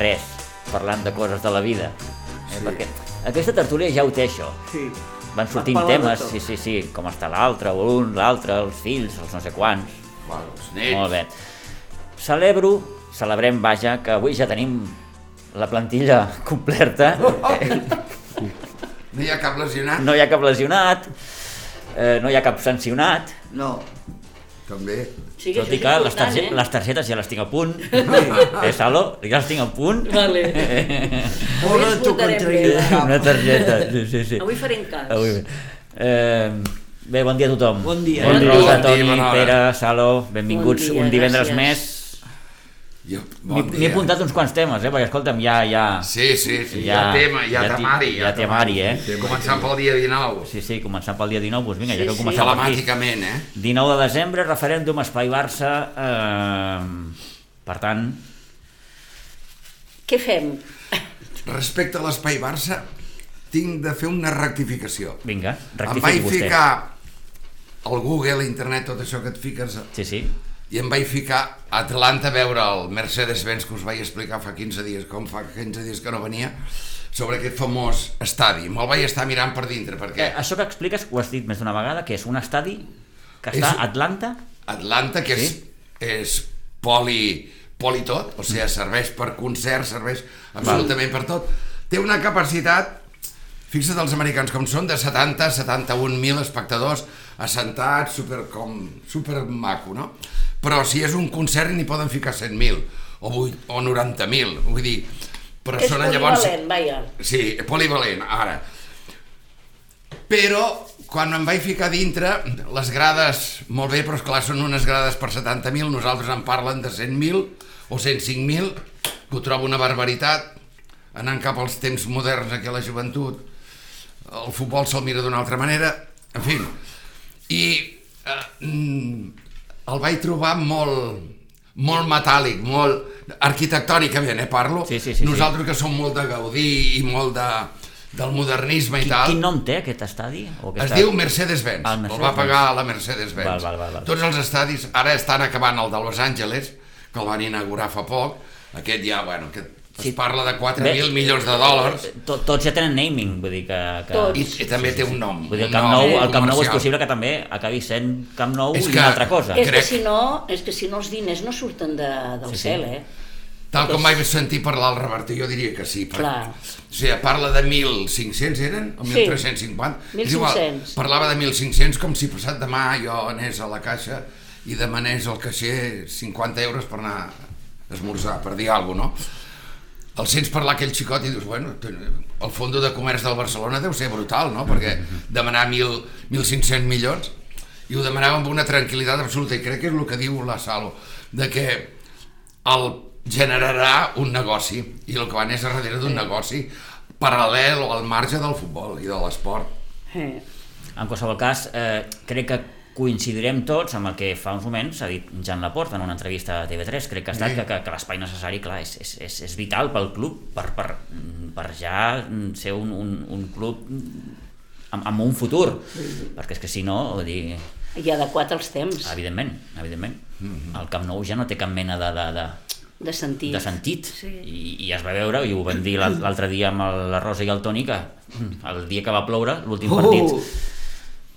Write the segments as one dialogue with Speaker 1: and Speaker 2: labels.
Speaker 1: Res, parlant de coses de la vida. Eh? Sí. Perquè aquesta tertúlia ja ho té, això.
Speaker 2: Sí.
Speaker 1: Van sortint
Speaker 2: parlar de
Speaker 1: temes,
Speaker 2: tot.
Speaker 1: sí, sí, sí, com està l'altre, o l'un, l'altre, els fills, els no sé quants.
Speaker 2: Bueno,
Speaker 3: doncs
Speaker 2: els nens.
Speaker 1: Molt bé. Celebro, celebrem, vaja, que avui ja tenim la plantilla completa.
Speaker 3: No hi ha cap lesionat?
Speaker 1: No hi ha cap lesionat, eh, no hi ha cap sancionat,
Speaker 2: No.
Speaker 3: També.
Speaker 4: Sí,
Speaker 1: tot i que les, targe
Speaker 4: eh?
Speaker 1: les targetes ja les tinc a punt.
Speaker 3: Sí.
Speaker 1: eh, Salo? Ja les tinc a punt.
Speaker 4: Vale. Avui
Speaker 2: Molt
Speaker 4: ens
Speaker 2: en tu
Speaker 4: portarem
Speaker 2: contrari.
Speaker 4: bé.
Speaker 1: Una targeta, sí, sí, sí.
Speaker 4: Avui farem cas.
Speaker 1: Avui. Eh, bé, bon dia a tothom.
Speaker 2: Bon dia.
Speaker 1: Bon
Speaker 4: Bon dia.
Speaker 1: Rosa,
Speaker 3: Bon
Speaker 1: Toni,
Speaker 3: dia, Manel.
Speaker 1: Pere, Salo, benvinguts
Speaker 4: Bon dia,
Speaker 1: un divendres
Speaker 4: gràcies.
Speaker 3: Jo,
Speaker 1: més.
Speaker 3: bon
Speaker 1: M'he- M'he
Speaker 3: dia.
Speaker 1: apuntat uns quants temes, eh, perquè escolta'm, ja... ja...
Speaker 3: Sí, sí, sí, ja, ja tema, ja,
Speaker 1: ti-
Speaker 3: temari.
Speaker 1: Ja temari, eh?
Speaker 3: Començant pel dia 19.
Speaker 1: Sí, sí, començant pel dia 19, doncs vinga,
Speaker 4: Sí,
Speaker 1: ja que
Speaker 4: sí.
Speaker 1: començar per aquí.
Speaker 3: Telemàticament, eh?
Speaker 1: 19 de desembre, referèndum Espai Barça, eh, per tant,
Speaker 4: Què fem?
Speaker 3: Respecte a l'espai Barça, tinc de fer una rectificació.
Speaker 1: vinga,
Speaker 3: em vaig
Speaker 1: rectifiqui vostè.
Speaker 3: ficar al Google, a internet, tot això que et fiques,
Speaker 1: Sí, sí,
Speaker 3: i em vaig ficar a Atlanta a veure el Mercedes-Benz que us vaig explicar fa 15 dies, com fa 15 dies que no venia, sobre aquest famós estadi. Me'l vaig estar mirant per dintre,
Speaker 1: Eh,
Speaker 3: perquè...
Speaker 1: això que expliques, ho has dit més d'una vegada, que és un estadi que
Speaker 3: És-
Speaker 1: està a Atlanta?
Speaker 3: Atlanta, que
Speaker 1: Sí.
Speaker 3: és, és poli, poli tot, o sigui, serveix per concerts, serveix absolutament per tot. Té una capacitat, fixa't els americans com són, de 70 a 71.000 espectadors assentats, super, com, super maco, no? Però si és un concert n'hi poden ficar 100.000 o, vuit- o 90.000, vull dir, però
Speaker 4: Que és
Speaker 3: són
Speaker 4: polivalent,
Speaker 3: llavors...
Speaker 4: vaja.
Speaker 3: Sí, polivalent, ara. Però quan em vaig ficar dintre, les grades, molt bé, però esclar, són unes grades per 70.000, nosaltres en parlen de 100.000 o 105.000, que ho trobo una barbaritat, anant cap als temps moderns, aquí a la joventut, el futbol se'l mira d'una altra manera, en fi. I eh, mm, el vaig trobar molt, molt metàl·lic, molt arquitectònicament, eh, parlo.
Speaker 1: Sí, sí, sí, sí.
Speaker 3: Nosaltres que som molt de Gaudí i molt de, del modernisme i
Speaker 1: Quin,
Speaker 3: tal.
Speaker 1: quin nom té aquest estadi? O
Speaker 3: Es
Speaker 1: aquesta-
Speaker 3: diu Mercedes-Benz,
Speaker 1: Ah, el
Speaker 3: el va
Speaker 1: Mercedes-Benz.
Speaker 3: pagar la Mercedes-Benz.
Speaker 1: Val, val, val, val.
Speaker 3: Tots els estadis, ara estan acabant el de Los Angeles, que el van inaugurar fa poc, aquest ja, bueno, que es
Speaker 1: Sí.
Speaker 3: parla de
Speaker 1: Bé,
Speaker 3: 4.000 milions de dòlars,
Speaker 1: To- Tots ja tenen naming, vull dir que... que...
Speaker 4: Tots.
Speaker 3: i, i també té un nom.
Speaker 1: Vull dir, el
Speaker 3: un
Speaker 1: Camp
Speaker 3: nom
Speaker 1: Nou, el Camp Nou és
Speaker 3: comercial.
Speaker 1: possible que també acabi sent Camp Nou
Speaker 3: És
Speaker 1: i
Speaker 3: que-
Speaker 1: una altra cosa.
Speaker 4: És que,
Speaker 3: crec-
Speaker 4: si no, és que si no els diners no surten de, del
Speaker 1: Sí, sí.
Speaker 4: cel, eh?
Speaker 3: Tal com vaig sentir parlar el Roberto, jo diria que sí. Perquè,
Speaker 4: Clar.
Speaker 3: O sigui, parla de 1.500, eren? O
Speaker 4: Sí.
Speaker 3: 1.350? És igual,
Speaker 4: 1.500.
Speaker 3: parlava de 1.500 com si passat demà jo anés a la caixa i demanés al caixer 50 euros per anar a esmorzar, per dir alguna cosa, no? El sents parlar aquell xicot i dius, bueno, té- el fondo de comerç del Barcelona deu ser brutal, no? Perquè demanar 1.000 1.500 milions i ho demanava amb una tranquil·litat absoluta i crec que és el que diu la Salo, de que el generarà un negoci i el que van és a darrere d'un negoci paral·lel o al marge del futbol i de l'esport.
Speaker 4: eh.
Speaker 1: En qualsevol cas, eh, crec que coincidirem tots amb el que fa uns moments ha dit Jan Laporta en una entrevista a TV3 crec que ha estat
Speaker 3: Sí.
Speaker 1: que, que, que l'espai necessari clar, és, és, és, és vital pel club per, per, per ja ser un, un, un club amb, amb un futur perquè és que si no, vull dir,
Speaker 4: I adequat als temps,
Speaker 1: evidentment, evidentment
Speaker 3: Mm-hmm.
Speaker 1: el Camp Nou ja no té cap mena de, de, de,
Speaker 4: de sentit.
Speaker 1: de sentit
Speaker 4: Sí.
Speaker 1: I, i es va veure, i ho vam dir l'al- l'altre dia amb el- la Rosa i el Toni que mm, el dia que va ploure, l'últim
Speaker 2: Uh!
Speaker 1: partit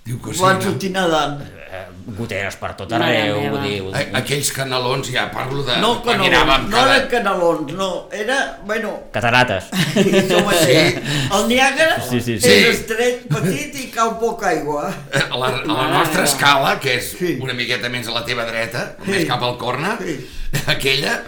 Speaker 3: Diu que sí.
Speaker 2: Van
Speaker 3: no?
Speaker 2: sortir nedant.
Speaker 1: eh, goteres per tot
Speaker 4: Mare
Speaker 1: arreu,
Speaker 4: meva.
Speaker 1: vull dir... vull
Speaker 3: A-
Speaker 1: dir-
Speaker 3: Aquells canalons, ja parlo de...
Speaker 2: No
Speaker 3: quan
Speaker 2: canalons,
Speaker 3: anàvem
Speaker 2: no eren canalons, no. Era, bueno,
Speaker 1: Catarates.
Speaker 2: som així. El Niàgara
Speaker 1: Sí, sí,
Speaker 3: sí.
Speaker 2: és estret, petit i cau poca aigua.
Speaker 3: A la, a la
Speaker 4: Mare
Speaker 3: nostra
Speaker 4: meva.
Speaker 3: escala, que és
Speaker 2: Sí.
Speaker 3: una miqueta més a la teva dreta,
Speaker 2: Sí.
Speaker 3: més cap al corna,
Speaker 2: Sí.
Speaker 3: aquella,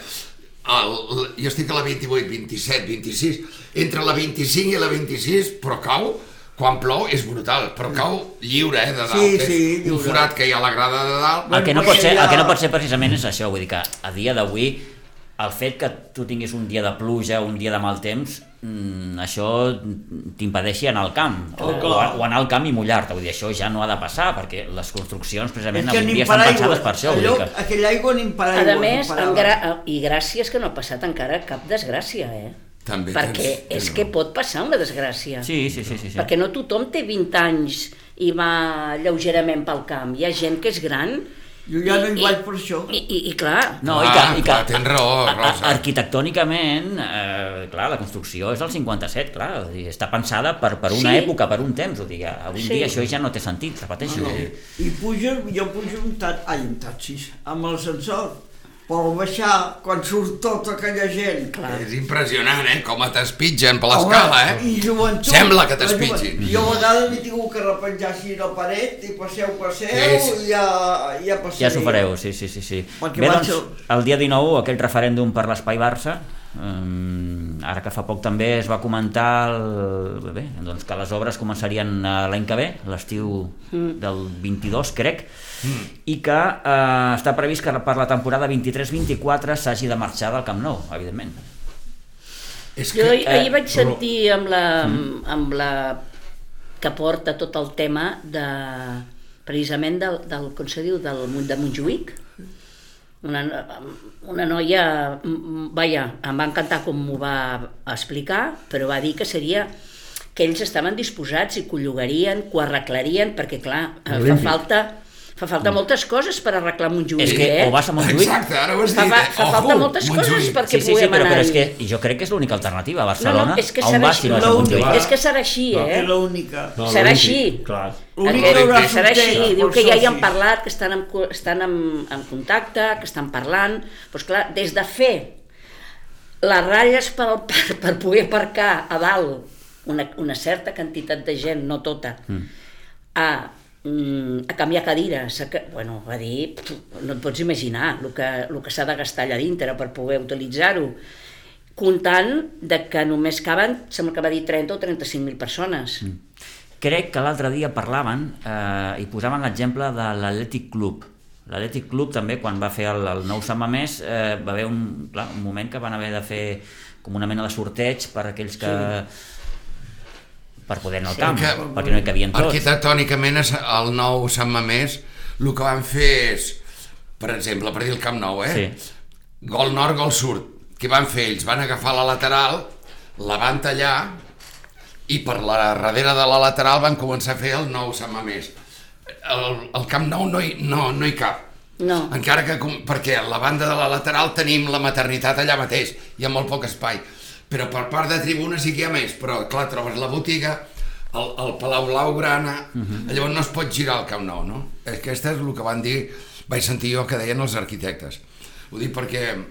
Speaker 3: el, l- jo estic a la 28, 27, 26, entre la 25 i la 26, però cau, quan plou és brutal, però cau lliure, eh, de dalt.
Speaker 2: Sí,
Speaker 3: és
Speaker 2: sí,
Speaker 3: un
Speaker 2: lliure.
Speaker 3: forat que hi ha a la grada de dalt.
Speaker 1: El que, no
Speaker 2: Bueno,
Speaker 1: pot ser, el
Speaker 2: ja-
Speaker 1: que no pot ser precisament és això, vull dir que a dia d'avui el fet que tu tinguis un dia de pluja, un dia de mal temps, mm, això t'impedeixi anar al camp
Speaker 2: Oh,
Speaker 1: o,
Speaker 2: clar.
Speaker 1: o anar al camp i mullar-te, vull dir, això ja no ha de passar perquè les construccions precisament
Speaker 2: És que
Speaker 1: avui
Speaker 2: anem
Speaker 1: dia
Speaker 2: per
Speaker 1: estan
Speaker 2: aigua.
Speaker 1: pensades per això, vull
Speaker 2: Allò,
Speaker 1: dir que
Speaker 2: aquella aigua anem per aigua.
Speaker 4: A més,
Speaker 2: anem per
Speaker 4: en
Speaker 2: aigua.
Speaker 4: gra... i gràcies que no ha passat encara cap desgràcia, eh?
Speaker 3: També
Speaker 4: Perquè
Speaker 3: tens- tens
Speaker 4: és que
Speaker 3: raó.
Speaker 4: pot passar una desgràcia.
Speaker 1: sí, sí, sí, sí, sí.
Speaker 4: Perquè no tothom té 20 anys i va lleugerament pel camp. Hi ha gent que és gran...
Speaker 2: Jo ja
Speaker 4: i-
Speaker 2: no hi
Speaker 4: i-
Speaker 2: vaig per això.
Speaker 4: I, i, i clar,
Speaker 1: No,
Speaker 4: no.
Speaker 1: i que,
Speaker 3: Clar,
Speaker 1: i que
Speaker 3: Ah, clar, tens raó,
Speaker 1: a- a-
Speaker 3: Rosa.
Speaker 1: Arquitectònicament, eh, clar, la construcció és del 57, clar, o sigui, està pensada per, per una
Speaker 4: Sí.
Speaker 1: època, per un temps, o sigui, avui
Speaker 4: Sí.
Speaker 1: en dia això ja no té sentit, repeteixo. No, no.
Speaker 2: I puja, jo pujo un taxi, ai, un taxi, amb l'ascensor. Però al baixar, quan surt tota aquella gent...
Speaker 3: És impressionant, eh, com t'espitgen per
Speaker 2: Home,
Speaker 3: l'escala, eh?
Speaker 2: I joventut.
Speaker 3: Sembla que
Speaker 2: la joventut.
Speaker 3: t'espitgin.
Speaker 2: Jo a vegades m'he tingut que repenjar així la paret i passeu, passeu,
Speaker 3: Sí, sí.
Speaker 2: i ja, ja passaré.
Speaker 1: Ja s'ho fareu, sí, sí, sí. sí.
Speaker 2: Perquè
Speaker 1: Bé,
Speaker 2: vaig
Speaker 1: doncs, el dia 19, aquell referèndum per l'Espai Barça, um, ara que fa poc també es va comentar el, bé, doncs que les obres començarien eh, l'any que ve, l'estiu
Speaker 4: Mm.
Speaker 1: del 22, crec, i que eh, està previst que per la temporada 23-24 s'hagi de marxar del Camp Nou, evidentment.
Speaker 3: És
Speaker 4: jo
Speaker 1: eh,
Speaker 4: ahir,
Speaker 1: Mm.
Speaker 4: ahir vaig
Speaker 3: però-
Speaker 4: sentir amb la, amb la que porta tot el tema de, precisament del, del com se diu, del, Mon- de Montjuïc, una, una noia, mm, vaja, em va encantar com m'ho va explicar, però va dir que seria que ells estaven disposats i que ho llogarien, que ho arreglarien, perquè clar, eh, fa falta, fa falta moltes coses per arreglar Montjuïc,
Speaker 1: Mm. És que
Speaker 4: eh?
Speaker 1: o vas a Montjuïc...
Speaker 3: Exacte, ara ho has
Speaker 4: Fa-
Speaker 3: dit.
Speaker 4: fa-
Speaker 3: eh?
Speaker 4: fa falta
Speaker 3: Ojo,
Speaker 4: moltes coses
Speaker 3: Montjuïc.
Speaker 4: perquè-
Speaker 1: Sí, sí, sí,
Speaker 4: podem
Speaker 1: però, però
Speaker 4: anar
Speaker 1: és
Speaker 4: i-
Speaker 1: que jo crec que és l'única alternativa a
Speaker 4: No,
Speaker 1: Barcelona.
Speaker 4: no, és que
Speaker 1: a on
Speaker 4: serà
Speaker 1: vas si
Speaker 4: així.
Speaker 1: no és a
Speaker 2: l'única.
Speaker 1: Montjuïc?
Speaker 4: És que serà així,
Speaker 5: No,
Speaker 4: eh?
Speaker 2: Era l'única.
Speaker 5: No,
Speaker 4: Serà
Speaker 5: l'únic,
Speaker 4: així.
Speaker 5: Clar.
Speaker 2: L'únic
Speaker 4: Aquest-
Speaker 2: que haurà
Speaker 4: serà
Speaker 2: sortit,
Speaker 4: així,
Speaker 2: per
Speaker 4: diu que ja hi
Speaker 2: això
Speaker 4: han
Speaker 2: sí.
Speaker 4: parlat, que estan en, co- estan en, en contacte, que estan parlant, doncs clar, des de fer les ratlles per, al, per, per poder aparcar a dalt una, una certa quantitat de gent, no tota, a, mm, a canviar cadires, a, que- bueno, va dir, pf, no et pots imaginar el que, el que s'ha de gastar allà dintre per poder utilitzar-ho, comptant de que només caben, sembla que va dir 30 o 35.000 persones. Mm.
Speaker 1: Crec que l'altre dia parlaven eh, i posaven l'exemple de l'Atlètic Club. L'Atlètic Club també, quan va fer el, el nou Sant Mamés, eh, va haver un, clar, un moment que van haver de fer com una mena de sorteig per aquells que... Sí. per poder anar al camp,
Speaker 3: que-
Speaker 1: perquè no hi cabien tots.
Speaker 3: Arquitectònicament, es- el nou Sant Mamés, el que van fer és, per exemple, per dir el Camp Nou, eh?
Speaker 1: Sí.
Speaker 3: Gol nord, gol sud. Què van fer ells? Van agafar la lateral, la van tallar i per la darrere de la lateral van començar a fer el nou Sant Mamés. El, el Camp Nou no hi, no, no hi cap.
Speaker 4: No.
Speaker 3: Encara que, com- perquè a la banda de la lateral tenim la maternitat allà mateix, hi ha molt poc espai. Però per part de tribuna sí que hi ha més, però clar, trobes la botiga, el, el Palau Blaugrana, uh
Speaker 1: Mhm.
Speaker 3: -huh. llavors no es pot girar el Camp Nou, no? Aquest és el que van dir, vaig sentir jo que deien els arquitectes. Ho dic perquè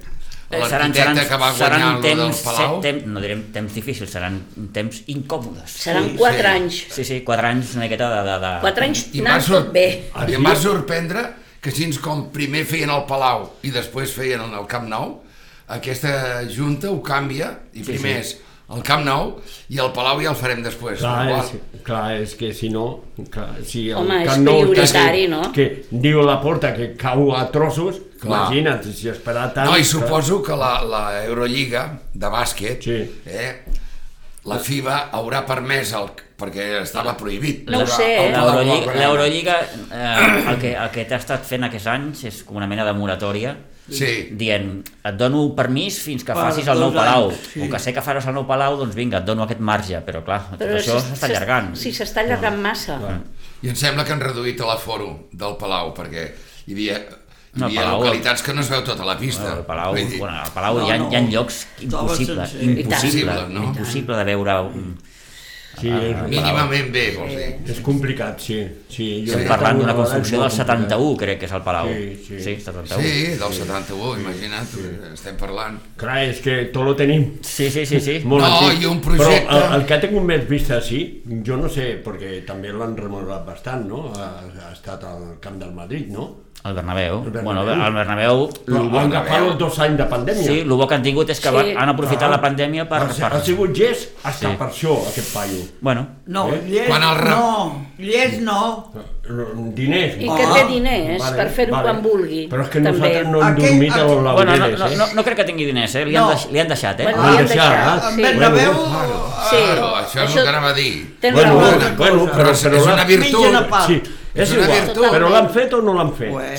Speaker 1: Eh, seran- seran-
Speaker 3: l'arquitecte que va
Speaker 1: seran
Speaker 3: guanyar el del
Speaker 1: temps-
Speaker 3: Palau...
Speaker 1: Temps, no direm temps difícils, seran temps incòmodes.
Speaker 4: Seran
Speaker 3: Sí,
Speaker 4: 4
Speaker 3: sí.
Speaker 4: anys.
Speaker 1: Sí, sí, quatre anys una miqueta de... de, de...
Speaker 4: 4 anys
Speaker 3: I em va,
Speaker 4: anant
Speaker 3: sor...
Speaker 4: tot bé.
Speaker 3: I em va sorprendre que així com primer feien el Palau i després feien el Camp Nou, aquesta junta ho canvia i primer
Speaker 1: sí.
Speaker 3: és el Camp Nou i el Palau ja el farem després.
Speaker 5: Clar,
Speaker 3: Igual.
Speaker 5: és, clar, és que si no... Clar, si el
Speaker 4: Home, és
Speaker 5: Camp Nou està
Speaker 4: prioritari,
Speaker 5: que-
Speaker 4: no?
Speaker 5: Que diu la porta que cau a trossos,
Speaker 3: Clar.
Speaker 5: imagina't, si esperar tant...
Speaker 3: No, i
Speaker 5: Ah, clar.
Speaker 3: suposo que la, la Eurolliga de bàsquet,
Speaker 5: Sí.
Speaker 3: eh, la FIBA haurà permès el, perquè estava prohibit.
Speaker 4: No ho sé, eh?
Speaker 1: L'Eurolliga, l'Eurolliga eh, el que, el que t'ha estat fent aquests anys és com una mena de moratòria
Speaker 3: Sí,
Speaker 1: dient, et dono permís fins que
Speaker 2: Per
Speaker 1: facis el nou
Speaker 2: dos
Speaker 1: palau,
Speaker 2: anys, sí.
Speaker 1: com que sé que faràs el nou palau, doncs vinga, et dono aquest marge però clar, tot
Speaker 4: Però
Speaker 1: això
Speaker 4: s'est-
Speaker 1: s'està
Speaker 4: s'est-
Speaker 1: allargant
Speaker 4: Sí, s'està allargant massa.
Speaker 3: i em sembla que han reduït l'aforo del Palau, perquè hi havia, hi
Speaker 1: No, el
Speaker 3: havia
Speaker 1: Palau-
Speaker 3: localitats que no es veu tota la pista.
Speaker 1: el palau,
Speaker 3: Vull dir-
Speaker 1: bueno, al palau
Speaker 2: No,
Speaker 1: hi, ha,
Speaker 2: no.
Speaker 1: hi ha llocs
Speaker 2: Estava
Speaker 1: impossibles
Speaker 2: sencer.
Speaker 1: impossible,
Speaker 3: Impossible, no?
Speaker 1: impossible de veure un,
Speaker 5: Sí, és,
Speaker 3: Ah, Mínimament bé, vols dir.
Speaker 5: és complicat, sí. sí jo
Speaker 1: Estem
Speaker 5: crec que
Speaker 1: parlant d'una
Speaker 5: alguna
Speaker 1: construcció del
Speaker 5: vegada és molt complicat.
Speaker 1: 71, crec que és el Palau.
Speaker 5: Sí, sí.
Speaker 1: sí 71.
Speaker 3: Sí, del 71, imagina't, estem parlant.
Speaker 5: Clar, és que tot ho tenim.
Speaker 1: Sí, sí, sí, sí.
Speaker 5: Molt
Speaker 3: No,
Speaker 5: antic.
Speaker 3: i un projecte-
Speaker 5: Però el, el que ha tingut més vista, sí, jo no sé, perquè també l'han remodelat bastant, no? Ha, ha estat al Camp del Madrid, no?
Speaker 1: El Bernabéu.
Speaker 5: El Bernabéu.
Speaker 1: Bueno, el Bernabéu...
Speaker 5: Però
Speaker 1: lo bo-
Speaker 5: han agafat
Speaker 3: Bernabéu.
Speaker 5: els dos anys de pandèmia.
Speaker 1: Sí, el bo que han tingut és que
Speaker 4: Sí.
Speaker 1: van- han aprofitat la pandèmia per...
Speaker 5: Ah. Ha,
Speaker 1: per...
Speaker 5: ha sigut gest hasta
Speaker 1: Sí.
Speaker 5: per això, aquest paio.
Speaker 1: Bueno,
Speaker 2: No,
Speaker 5: Eh?
Speaker 2: llet
Speaker 3: Quan el ra-
Speaker 2: no, llet no.
Speaker 5: Diners.
Speaker 4: I
Speaker 5: no?
Speaker 4: que
Speaker 2: Ah,
Speaker 4: té diners per fer-ho quan vulgui.
Speaker 5: Però és que
Speaker 4: també.
Speaker 5: nosaltres no hem
Speaker 2: Aquell-
Speaker 5: dormit a
Speaker 2: aquell-
Speaker 5: les
Speaker 1: bueno no,
Speaker 5: laureles,
Speaker 1: no, no,
Speaker 5: eh?
Speaker 1: no crec que tingui diners, eh? Li han,
Speaker 2: No.
Speaker 1: deix, li han deixat, eh?
Speaker 4: Bueno,
Speaker 5: L'han
Speaker 4: li han
Speaker 5: deixat,
Speaker 4: deixat,
Speaker 5: ah,
Speaker 2: En
Speaker 4: sí.
Speaker 2: Bernabéu...
Speaker 3: Bueno,
Speaker 4: Sí.
Speaker 3: Claro, Ah, això és
Speaker 4: Això-
Speaker 3: el que anava a dir.
Speaker 4: Tens
Speaker 5: Bueno,
Speaker 4: raó.
Speaker 5: bueno, bueno, però,
Speaker 3: És-
Speaker 5: però
Speaker 3: és
Speaker 5: la-
Speaker 3: una
Speaker 2: Mengen a
Speaker 3: virtut.
Speaker 2: pa.
Speaker 5: Sí,
Speaker 3: És
Speaker 5: és
Speaker 3: una
Speaker 5: igual.
Speaker 3: virtut.
Speaker 5: Però l'han fet o no l'han fet?
Speaker 2: Bueno,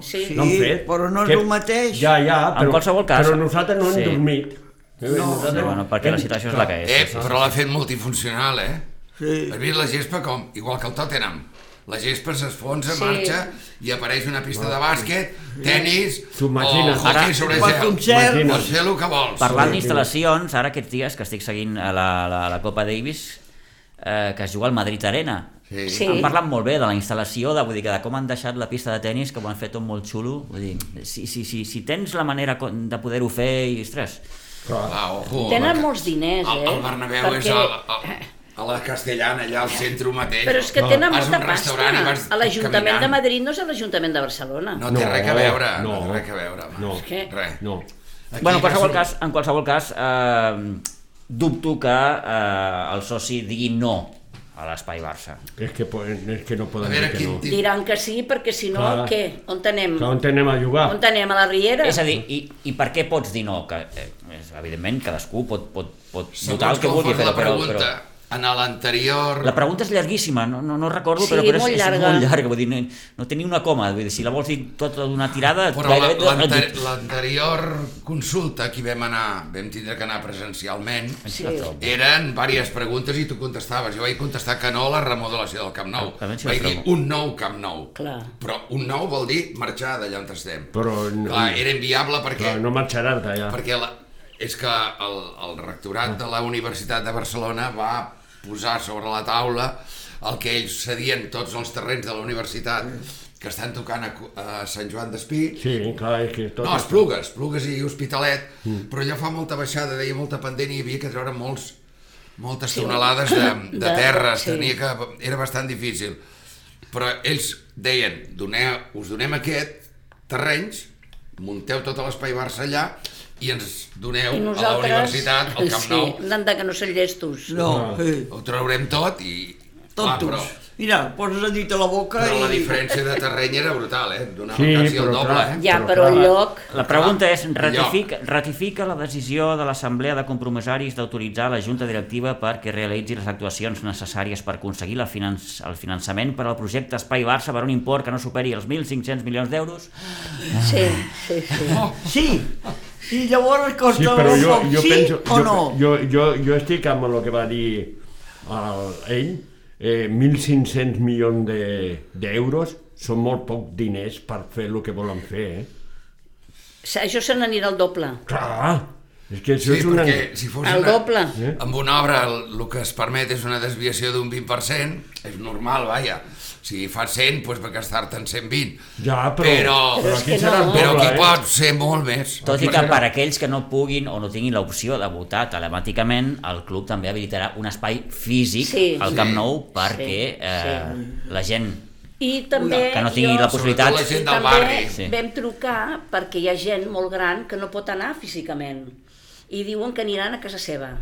Speaker 2: sí,
Speaker 4: Sí,
Speaker 2: sí,
Speaker 5: L'han fet.
Speaker 2: però no és
Speaker 5: Que-
Speaker 2: el mateix.
Speaker 5: Ja, ja,
Speaker 1: En
Speaker 5: però,
Speaker 1: qualsevol cas.
Speaker 5: però nosaltres no hem
Speaker 1: Sí.
Speaker 5: dormit.
Speaker 2: No,
Speaker 1: Sí, bueno, perquè la situació és la que
Speaker 3: Eh,
Speaker 1: és.
Speaker 3: però l'ha fet multifuncional, eh?
Speaker 2: Sí.
Speaker 3: Has vist la gespa com, igual que el Tottenham. La gespa s'esfonsa,
Speaker 4: Sí.
Speaker 3: marxa i apareix una pista de bàsquet, tennis,
Speaker 5: T'ho imagines,
Speaker 3: o hockey
Speaker 1: ara-
Speaker 3: sobre
Speaker 2: Per
Speaker 3: gel.
Speaker 2: concert,
Speaker 5: Imagina't.
Speaker 3: Pots fer el que vols.
Speaker 1: Parlant d'instal·lacions, ara aquests dies que estic seguint a la, la, la Copa Davis, eh, que es juga al Madrid Arena,
Speaker 3: Sí.
Speaker 4: Sí.
Speaker 1: Han parlat molt bé de la instal·lació, de, vull dir, que de com han deixat la pista de tennis, que ho han fet tot molt xulo. Vull dir, si, si, si, si tens la manera co- de poder-ho fer i, ostres...
Speaker 3: Va, Ah, ojo.
Speaker 4: Tenen
Speaker 3: el-
Speaker 4: molts diners,
Speaker 3: El,
Speaker 4: eh?
Speaker 3: el Bernabéu
Speaker 4: Perquè- eh,
Speaker 3: és a, a, a la Castellana, allà al centre mateix.
Speaker 4: Però és que tenen
Speaker 3: Vas a un
Speaker 4: molta
Speaker 3: restaurant i vas
Speaker 4: pasta. A l'Ajuntament de
Speaker 3: caminant.
Speaker 4: Madrid no és a l'Ajuntament de Barcelona.
Speaker 3: No té
Speaker 5: No,
Speaker 3: res a veure, no,
Speaker 5: no.
Speaker 3: té res a veure. home.
Speaker 5: No.
Speaker 4: Què?
Speaker 3: Res.
Speaker 5: No.
Speaker 3: Aquí
Speaker 1: Bueno, en
Speaker 3: va
Speaker 1: qualsevol
Speaker 3: sortir-
Speaker 1: cas, en qualsevol cas eh, dubto que eh, el soci digui no a l'Espai Barça.
Speaker 5: És que, po- és que no
Speaker 3: A
Speaker 5: poden dir
Speaker 3: veure,
Speaker 5: que
Speaker 3: quin
Speaker 5: no.
Speaker 3: tip...
Speaker 4: Diran que sí, perquè si no,
Speaker 5: Clar.
Speaker 4: què? On anem?
Speaker 5: Clar, on anem a jugar?
Speaker 4: On anem? A la Riera?
Speaker 1: És a dir, i, i per què pots dir no? Que, eh, és- evidentment, cadascú pot, pot, pot votar
Speaker 3: Segons
Speaker 1: el que
Speaker 3: com
Speaker 1: vulgui,
Speaker 3: fos
Speaker 1: però,
Speaker 3: la
Speaker 1: però,
Speaker 3: pregunta,
Speaker 1: però...
Speaker 3: en l'anterior...
Speaker 1: La pregunta és llarguíssima, no, no, no recordo,
Speaker 4: Sí,
Speaker 1: però, però és,
Speaker 4: molt
Speaker 1: és
Speaker 4: llarga.
Speaker 1: molt llarga. Vull dir, no, no tenia una coma. Vull dir, si la vols dir tota d'una tirada...
Speaker 3: Però la-
Speaker 1: gairebé-
Speaker 3: l'ante- l'anterior consulta que hi vam anar, vam tindre que anar presencialment,
Speaker 4: Sí.
Speaker 3: eren diverses preguntes i tu contestaves. Jo vaig contestar que no a la remodelació del Camp Nou.
Speaker 1: Exactament, sí,
Speaker 3: Vaig
Speaker 1: però-
Speaker 3: dir un nou Camp Nou.
Speaker 4: Clar.
Speaker 3: Però un nou vol dir marxar d'allà on estem.
Speaker 5: Però no-
Speaker 3: Clar, era inviable perquè...
Speaker 5: Clar, no marxaràs d'allà.
Speaker 3: Perquè la, és que el, el rectorat de la Universitat de Barcelona va posar sobre la taula el que ells cedien tots els terrenys de la universitat que estan tocant a, Cu- a Sant Joan d'Espí.
Speaker 5: Sí, clar, és que tot... Mm.
Speaker 3: No, Esplugues, Esplugues i Hospitalet, però allò fa molta baixada, deia molta pendent i hi havia que treure molts, moltes tonelades de, de
Speaker 4: De-
Speaker 3: terres,
Speaker 4: sí.
Speaker 3: tenia que, era bastant difícil. Però ells deien, doneu, us donem aquest terrenys, munteu tot l'espai Barça allà i ens doneu
Speaker 4: I
Speaker 3: a la universitat, al Camp
Speaker 4: sí,
Speaker 3: Nou,
Speaker 4: hem d'anar que no són llestos.
Speaker 2: No,
Speaker 5: Ah.
Speaker 2: sí.
Speaker 3: ho traurem tot i... Clar,
Speaker 2: Tontos.
Speaker 3: Ah, però,
Speaker 2: Mira, poses el dit a la boca
Speaker 3: però la
Speaker 2: i...
Speaker 3: diferència de terreny era brutal, eh? Donava
Speaker 5: Sí,
Speaker 3: quasi el
Speaker 5: però
Speaker 3: doble,
Speaker 5: clar.
Speaker 3: eh?
Speaker 4: Ja,
Speaker 5: Però
Speaker 4: però el
Speaker 5: clar.
Speaker 4: lloc...
Speaker 1: La pregunta és,
Speaker 3: Lloc.
Speaker 1: ratifica, ratifica la decisió de l'Assemblea de Compromisaris d'autoritzar la Junta Directiva perquè realitzi les actuacions necessàries per aconseguir la finanç, el finançament per al projecte Espai Barça per un import que no superi els 1.500 milions d'euros?
Speaker 4: Sí, sí, sí.
Speaker 2: Sí, i llavors costa
Speaker 5: Sí, però jo,
Speaker 2: un poc,
Speaker 5: jo
Speaker 2: sí
Speaker 5: penso...
Speaker 2: o
Speaker 5: jo,
Speaker 2: no?
Speaker 5: Jo, jo, jo estic amb el que va dir el, ell, eh, 1.500 milions de- d'euros de, són molt poc diners per fer el que volen fer, eh?
Speaker 4: Això se n'anirà al doble.
Speaker 5: Clar, és que això
Speaker 3: Sí,
Speaker 5: és una...
Speaker 3: perquè si fos
Speaker 4: Al
Speaker 3: una...
Speaker 4: doble.
Speaker 5: Eh?
Speaker 3: Amb una obra el, el que es permet és una desviació d'un 20%, és normal, vaja. Si fa 100, doncs va gastar-te en 120.
Speaker 5: Ja, però,
Speaker 3: Però,
Speaker 4: Però
Speaker 3: però,
Speaker 4: és
Speaker 5: aquí
Speaker 4: que
Speaker 5: serà
Speaker 4: no.
Speaker 5: el doble,
Speaker 3: aquí
Speaker 5: eh?
Speaker 3: pot ser molt més.
Speaker 1: Tot i que per aquells que no puguin o no tinguin l'opció de votar telemàticament, el club també habilitarà un espai físic
Speaker 4: Sí.
Speaker 1: al
Speaker 4: Sí.
Speaker 1: Camp Nou perquè
Speaker 4: Sí,
Speaker 1: eh, la gent...
Speaker 4: I també...
Speaker 1: Que no tingui
Speaker 4: jo-
Speaker 1: la possibilitat...
Speaker 3: Sobretot la gent
Speaker 4: I
Speaker 3: del
Speaker 4: també
Speaker 3: barri.
Speaker 1: Sí.
Speaker 4: vam trucar perquè hi ha gent molt gran que no pot anar físicament i diuen que aniran a casa seva,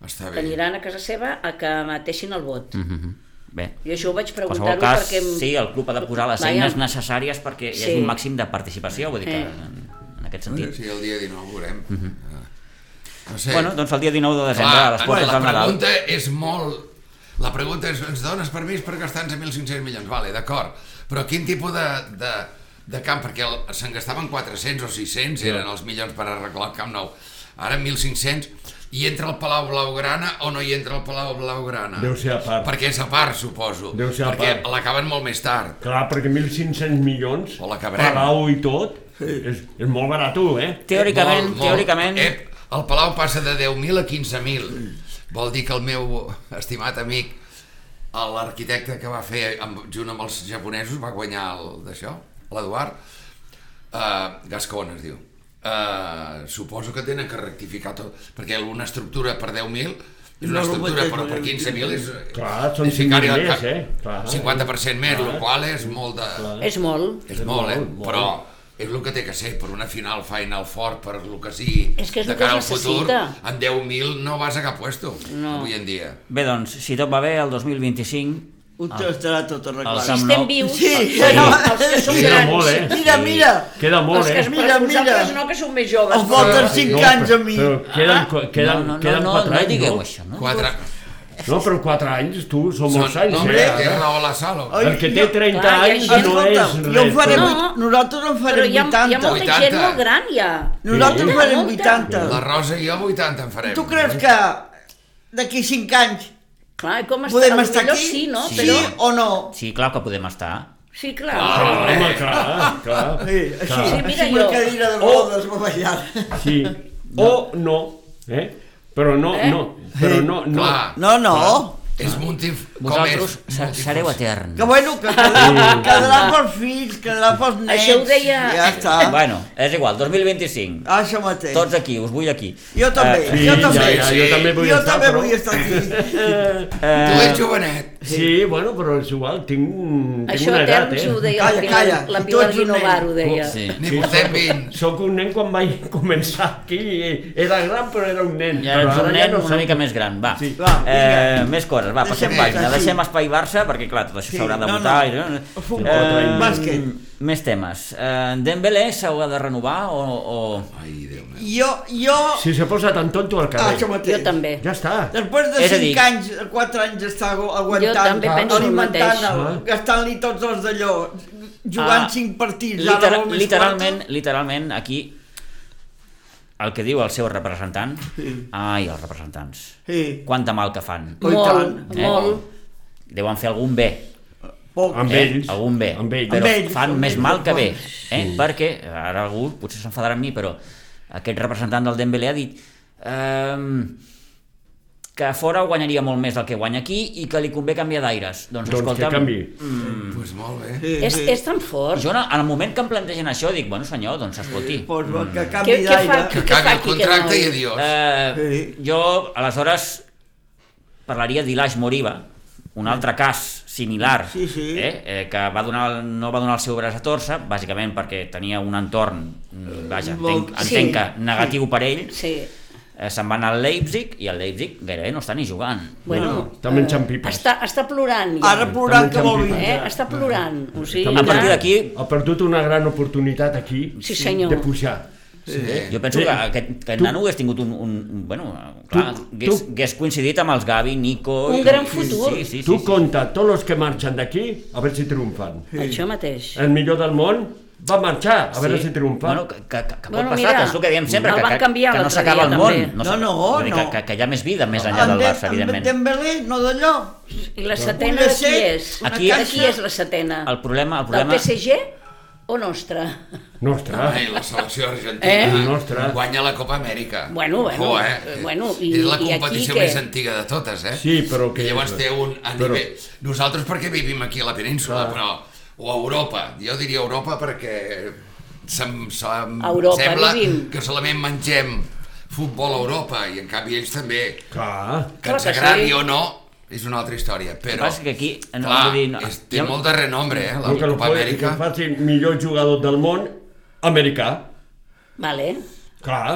Speaker 3: Està
Speaker 4: que
Speaker 3: bé.
Speaker 4: aniran a casa seva a que mateixin el vot.
Speaker 1: Mhm. Bé,
Speaker 4: I això ho vaig
Speaker 1: En qualsevol
Speaker 4: preguntar-ho
Speaker 1: cas,
Speaker 4: perquè... em-
Speaker 1: sí, el club ha de posar les
Speaker 4: Vaja.
Speaker 1: eines necessàries perquè hi hagi
Speaker 4: Sí.
Speaker 1: un màxim de participació, vull dir que
Speaker 4: Eh.
Speaker 1: en, en aquest sentit.
Speaker 3: Eh, Sí, el dia 19 ho veurem. Ah. No sé.
Speaker 1: Mhm. Bueno, doncs el dia 19 de desembre a les portes
Speaker 3: la
Speaker 1: del Nadal.
Speaker 3: pregunta és molt... La pregunta és, ens dones permís per gastar-nos 1.500 milions? Vale, d'acord. Però quin tipus de, de, de camp? Perquè el- se'n gastaven 400 o 600, eren els milions per arreglar el Camp Nou. Ara 1.500. Hi entra el Palau Blaugrana o no hi entra el Palau Blaugrana?
Speaker 5: Deu ser a part.
Speaker 3: Perquè és a part, suposo.
Speaker 5: Deu ser a
Speaker 3: perquè
Speaker 5: part.
Speaker 3: l'acaben molt més tard.
Speaker 5: Clar, perquè 1.500 milions,
Speaker 3: O l'acabarem.
Speaker 5: palau i tot, és, és molt barat, eh?
Speaker 1: Teòricament,
Speaker 3: Molt, Eh, molt.
Speaker 1: teòricament,
Speaker 3: Ep, el Palau passa de 10.000 a 15.000. Vol dir que el meu estimat amic, l'arquitecte que va fer amb, junt amb els japonesos, va guanyar el d'això, l'Eduard, uh, Gascon es diu. Uh, suposo que tenen que rectificar tot, perquè una estructura per 10.000 és
Speaker 2: No, no
Speaker 3: una estructura,
Speaker 2: mateix,
Speaker 3: però per
Speaker 2: no,
Speaker 3: 15.000 és...
Speaker 5: Clar, són
Speaker 3: és ficar-hi
Speaker 5: 5.000
Speaker 3: el
Speaker 5: més,
Speaker 3: cap-
Speaker 5: eh? Clar.
Speaker 3: 50% més, el qual és molt de...
Speaker 5: Clar.
Speaker 4: És molt.
Speaker 3: És molt, eh?
Speaker 5: molt, molt.
Speaker 3: Però és el que té que ser, per una final, final fort, per el que sigui,
Speaker 4: És que és
Speaker 3: de
Speaker 4: el que
Speaker 3: cara al
Speaker 4: es
Speaker 3: futur,
Speaker 4: necessita.
Speaker 3: amb 10.000 no vas a cap puesto,
Speaker 4: No.
Speaker 3: avui en dia.
Speaker 1: Bé, doncs, si tot va bé, el 2025
Speaker 2: Ho ah. estarà tot
Speaker 1: el
Speaker 2: arreglat.
Speaker 1: Camp
Speaker 4: Estem
Speaker 1: Nou-
Speaker 4: vius.
Speaker 2: Sí,
Speaker 4: els,
Speaker 2: sí.
Speaker 4: els que som
Speaker 5: Queda
Speaker 4: grans.
Speaker 5: molt, eh?
Speaker 2: Mira, mira,
Speaker 5: Queda molt,
Speaker 4: els que es,
Speaker 5: eh?
Speaker 2: Mira,
Speaker 4: mira,
Speaker 2: mira.
Speaker 4: Vosaltres no, que sou més joves.
Speaker 2: els voten
Speaker 4: però-
Speaker 2: 5
Speaker 5: però-
Speaker 2: anys a mi.
Speaker 5: Però queden, ah? queden,
Speaker 1: no, no,
Speaker 5: queden
Speaker 1: no,
Speaker 5: quatre
Speaker 1: no,
Speaker 5: anys,
Speaker 1: no digueu
Speaker 5: no?
Speaker 1: això, no?
Speaker 3: Quatre...
Speaker 5: No, però 4 anys, tu, són molts
Speaker 3: Són-
Speaker 5: anys,
Speaker 3: no, hombre, té
Speaker 5: eh?
Speaker 3: raó la sala.
Speaker 2: Oi,
Speaker 5: El que té
Speaker 2: jo-
Speaker 5: 30
Speaker 4: clar, hi ha
Speaker 5: anys
Speaker 4: gent-
Speaker 5: no és res.
Speaker 2: Jo en faré,
Speaker 4: No.
Speaker 5: tot.
Speaker 2: vuit- nosaltres en
Speaker 4: Però
Speaker 2: farem
Speaker 4: hi ha, hi ha
Speaker 2: 80.
Speaker 4: molta
Speaker 3: 80.
Speaker 4: gent molt gran, ja.
Speaker 2: Nosaltres en
Speaker 4: Molta,
Speaker 2: farem
Speaker 4: molta.
Speaker 2: 80.
Speaker 3: La Rosa i jo 80 en farem.
Speaker 2: Tu creus que d'aquí 5 anys
Speaker 4: Clar, i com està?
Speaker 2: podem
Speaker 4: Potser
Speaker 2: estar aquí?
Speaker 4: Sí, no?
Speaker 2: sí
Speaker 4: Però...
Speaker 2: o no?
Speaker 1: Sí, clar que podem estar.
Speaker 4: Sí, clar.
Speaker 5: Clar,
Speaker 3: Ah.
Speaker 5: home, clar, clar.
Speaker 2: Sí, així,
Speaker 4: Sí,
Speaker 2: així
Speaker 4: mira
Speaker 2: amb la
Speaker 4: jo.
Speaker 2: cadira de
Speaker 5: O-
Speaker 2: rodes oh.
Speaker 5: Sí. O no, eh? Però no,
Speaker 4: Eh?
Speaker 5: no, però no, no.
Speaker 3: Clar.
Speaker 2: No, no.
Speaker 3: És multif...
Speaker 1: Vosaltres
Speaker 3: com és?
Speaker 1: se- sereu eterns.
Speaker 2: Que bueno, que quedarà, quedarà pels fills, quedarà pels nets.
Speaker 4: Això ho deia-
Speaker 2: Ja està.
Speaker 1: Bueno, és igual, 2025.
Speaker 2: Això mateix.
Speaker 1: Tots aquí, us vull aquí.
Speaker 2: Jo també.
Speaker 1: Eh,
Speaker 5: Ah, Sí,
Speaker 2: Jo
Speaker 5: ja,
Speaker 2: també.
Speaker 5: ja, jo també vull
Speaker 2: jo
Speaker 5: estar,
Speaker 2: també
Speaker 5: però...
Speaker 2: vull estar aquí.
Speaker 3: Tu
Speaker 4: Eh.
Speaker 3: ets jovenet.
Speaker 5: Sí, bueno, però és igual, tinc, tinc
Speaker 4: Això
Speaker 5: una edat,
Speaker 4: Eterns
Speaker 5: eh?
Speaker 4: ho deia
Speaker 2: Calla,
Speaker 4: la Pilar,
Speaker 2: calla,
Speaker 4: la
Speaker 2: i
Speaker 4: Pilar
Speaker 2: tots ho
Speaker 4: Guinovar,
Speaker 2: anem.
Speaker 4: ho deia.
Speaker 1: Sí.
Speaker 3: Ni portem
Speaker 5: sóc-
Speaker 3: 20.
Speaker 5: Sóc un nen quan vaig començar aquí, eh, era gran però era un nen.
Speaker 1: Ja
Speaker 5: però
Speaker 1: ets un
Speaker 5: ara
Speaker 1: nen
Speaker 5: no
Speaker 1: una
Speaker 5: sóc.
Speaker 1: mica més gran, va.
Speaker 5: Sí.
Speaker 2: Va,
Speaker 1: eh, més coses, va,
Speaker 2: Deixem
Speaker 1: passem pàgina.
Speaker 2: Barça, sí.
Speaker 1: Deixem espai Barça, perquè clar, tot això
Speaker 2: Sí,
Speaker 1: s'haurà de
Speaker 2: no,
Speaker 1: votar.
Speaker 2: no.
Speaker 1: i-
Speaker 2: Futbol,
Speaker 1: Eh,
Speaker 2: bàsquet.
Speaker 1: Més temes. Eh, Dembélé s'haurà de renovar o... o...
Speaker 3: Ai, Déu meu.
Speaker 2: Jo, jo...
Speaker 5: Si s'ha posat tan tonto al
Speaker 2: Ah, això
Speaker 5: carrer.
Speaker 2: mateix.
Speaker 4: Jo també.
Speaker 5: Ja està.
Speaker 2: Després de
Speaker 1: És a
Speaker 2: 5
Speaker 1: dir-
Speaker 2: anys, 4 anys d'estar agu- aguantant,
Speaker 4: també penso el
Speaker 2: alimentant-el,
Speaker 5: mateix.
Speaker 2: gastant-li tots els d'allò, jugant
Speaker 1: Ah,
Speaker 2: 5 partits,
Speaker 1: Litera
Speaker 2: ara vol més
Speaker 1: literalment,
Speaker 2: quatre.
Speaker 1: literalment, aquí el que diu el seu representant... Ai, els representants.
Speaker 2: Sí.
Speaker 1: Quanta mal que fan.
Speaker 2: Oh, i
Speaker 4: Molt,
Speaker 2: tant.
Speaker 4: molt.
Speaker 1: Deuen fer algun bé.
Speaker 2: Poc.
Speaker 5: Amb
Speaker 1: eh?
Speaker 5: ells.
Speaker 1: Algun bé.
Speaker 5: Amb ells.
Speaker 1: Però
Speaker 2: Amb ells,
Speaker 1: fan
Speaker 2: amb
Speaker 1: més
Speaker 2: ells,
Speaker 1: mal que bé.
Speaker 2: doncs.
Speaker 1: Eh? Perquè, ara algú potser s'enfadarà amb mi, però aquest representant del Dembélé ha dit... Ehm, que a fora guanyaria molt més del que guanya aquí i que li convé canviar d'aires. Doncs,
Speaker 5: Doncs que
Speaker 1: escolta'm,
Speaker 5: canvi.
Speaker 4: Mm.
Speaker 3: Doncs pues molt bé.
Speaker 2: Sí,
Speaker 4: És,
Speaker 2: eh? sí.
Speaker 4: és tan fort.
Speaker 1: jo en el moment que em plantegen això dic, bueno senyor, doncs escolti,
Speaker 2: Pues, que
Speaker 1: Mm.
Speaker 4: Què,
Speaker 2: canvi
Speaker 4: què fa?
Speaker 2: d'aire.
Speaker 3: Que
Speaker 4: Què
Speaker 3: acabi
Speaker 4: fa
Speaker 3: el
Speaker 4: aquí,
Speaker 3: contracte i
Speaker 4: aquest noi?
Speaker 3: adiós.
Speaker 1: Eh,
Speaker 2: Sí.
Speaker 1: jo, aleshores, parlaria d'Ilaix Moriba, un altre cas similar,
Speaker 2: Sí, sí.
Speaker 1: Eh? Eh, que va donar, no va donar el seu braç a torça, bàsicament perquè tenia un entorn, mm, vaja, entenc,
Speaker 2: molt-
Speaker 1: entenc
Speaker 4: Sí.
Speaker 1: que negatiu per ell,
Speaker 4: Sí.
Speaker 1: eh, se'n va anar al Leipzig, i el Leipzig gairebé no està ni jugant.
Speaker 4: Bueno, eh,
Speaker 5: Està menjant pipes.
Speaker 4: Està, està plorant. Ja.
Speaker 2: Ara plorant que vol
Speaker 5: També
Speaker 2: vindre.
Speaker 4: Eh? Està plorant. O sigui,
Speaker 5: Està
Speaker 1: A partir
Speaker 4: clar.
Speaker 1: d'aquí,
Speaker 5: Ha perdut una gran oportunitat aquí
Speaker 4: Sí, senyor.
Speaker 5: de pujar.
Speaker 3: Sí.
Speaker 1: jo penso
Speaker 5: Sí.
Speaker 1: que aquest, aquest
Speaker 5: Tu-
Speaker 1: nano hagués tingut un... un, un bueno, clar,
Speaker 5: tu-
Speaker 1: hagués, hagués coincidit amb els Gavi, Nico...
Speaker 4: Un
Speaker 1: i-
Speaker 4: gran
Speaker 1: sí,
Speaker 4: futur.
Speaker 1: Sí, sí, sí,
Speaker 5: Tu
Speaker 1: sí.
Speaker 5: compta tots els que marxen d'aquí a veure si triomfen.
Speaker 4: Això mateix.
Speaker 5: El millor del món va marxar a veure si triomfa.
Speaker 1: Bueno, que, que, que pot
Speaker 4: Bueno,
Speaker 1: passar,
Speaker 4: mira,
Speaker 1: que és el que diem sempre,
Speaker 4: el
Speaker 1: que,
Speaker 4: van
Speaker 1: que,
Speaker 4: canviar
Speaker 1: que no
Speaker 4: l'altre
Speaker 1: s'acaba el
Speaker 4: dia,
Speaker 1: món.
Speaker 4: també.
Speaker 1: s'acaba-
Speaker 2: No, no,
Speaker 1: vull dir que,
Speaker 2: no.
Speaker 1: que, que hi ha més vida més enllà del Barça,
Speaker 2: Amb
Speaker 1: evidentment.
Speaker 2: Dembélé, no d'allò.
Speaker 4: I la setena de qui
Speaker 2: Una
Speaker 4: és?
Speaker 2: set,
Speaker 1: una
Speaker 4: Aquí,
Speaker 1: caixa.
Speaker 4: aquí és la setena.
Speaker 1: El problema, el
Speaker 4: Del
Speaker 1: problema...
Speaker 4: PSG o nostra?
Speaker 5: Nostra.
Speaker 1: eh.
Speaker 3: Ai, la selecció argentina
Speaker 4: Eh?
Speaker 5: Nostre.
Speaker 3: guanya la Copa Amèrica.
Speaker 4: Bueno, bueno,
Speaker 3: Jo,
Speaker 4: eh, bueno, i-
Speaker 3: és la
Speaker 4: i aquí
Speaker 3: competició
Speaker 4: què?
Speaker 3: més antiga de totes, eh?
Speaker 5: Sí, però que-
Speaker 3: I llavors té un a
Speaker 5: però-
Speaker 3: nivell... Nosaltres perquè vivim aquí a la península, però... O a Europa. Jo diria Europa perquè... Se'm, se'm
Speaker 4: A Europa
Speaker 3: sembla
Speaker 4: vivim.
Speaker 3: que solament mengem futbol a Europa i en canvi ells també,
Speaker 5: Clar.
Speaker 3: que
Speaker 4: Clar
Speaker 3: ens
Speaker 4: que
Speaker 3: agradi
Speaker 4: sí.
Speaker 3: o no, és una altra història,
Speaker 1: El que
Speaker 3: però
Speaker 1: passa és que aquí... eh, No,
Speaker 3: clar,
Speaker 1: vull dir, no,
Speaker 3: és, té
Speaker 1: hi ha-
Speaker 3: molt de renombre, eh, la
Speaker 5: El que, el
Speaker 3: Copa
Speaker 5: fa- que
Speaker 3: Amèrica.
Speaker 5: el faci millor jugador del món, americà.
Speaker 4: Vale.
Speaker 5: Clar.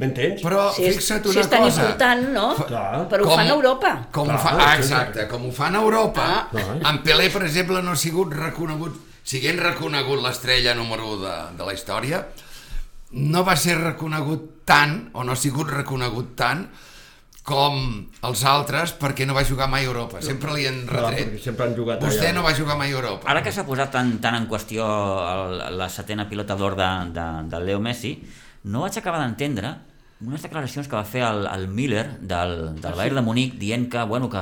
Speaker 5: M'entens?
Speaker 3: Però
Speaker 4: Si és,
Speaker 3: fixa't
Speaker 4: si
Speaker 3: una
Speaker 4: és tan
Speaker 3: cosa.
Speaker 4: important, no?
Speaker 5: Clar.
Speaker 4: Però ho fan a Europa.
Speaker 3: Com
Speaker 5: Clar,
Speaker 3: ho fa,
Speaker 5: sí,
Speaker 3: ah,
Speaker 5: sí.
Speaker 3: exacte, com ho fan a Europa,
Speaker 5: Clar.
Speaker 2: eh?
Speaker 3: en Pelé, per exemple, no ha sigut reconegut, siguent reconegut l'estrella número 1 de, de la història, no va ser reconegut tant, o no ha sigut reconegut tant, com els altres, perquè no va jugar mai a Europa. Sempre li han
Speaker 5: Clar, perquè
Speaker 3: retret.
Speaker 5: sempre han jugat
Speaker 3: Vostè
Speaker 5: allà.
Speaker 3: no va jugar mai a
Speaker 2: Ah,
Speaker 3: Europa.
Speaker 1: Ara que s'ha posat tan, tan en qüestió el, la setena pilota d'or de, de, del Leo Messi, no vaig acabar d'entendre
Speaker 4: Ah,
Speaker 1: unes declaracions que va fer el, el Miller del, del Bayern de Munic dient que, bueno, que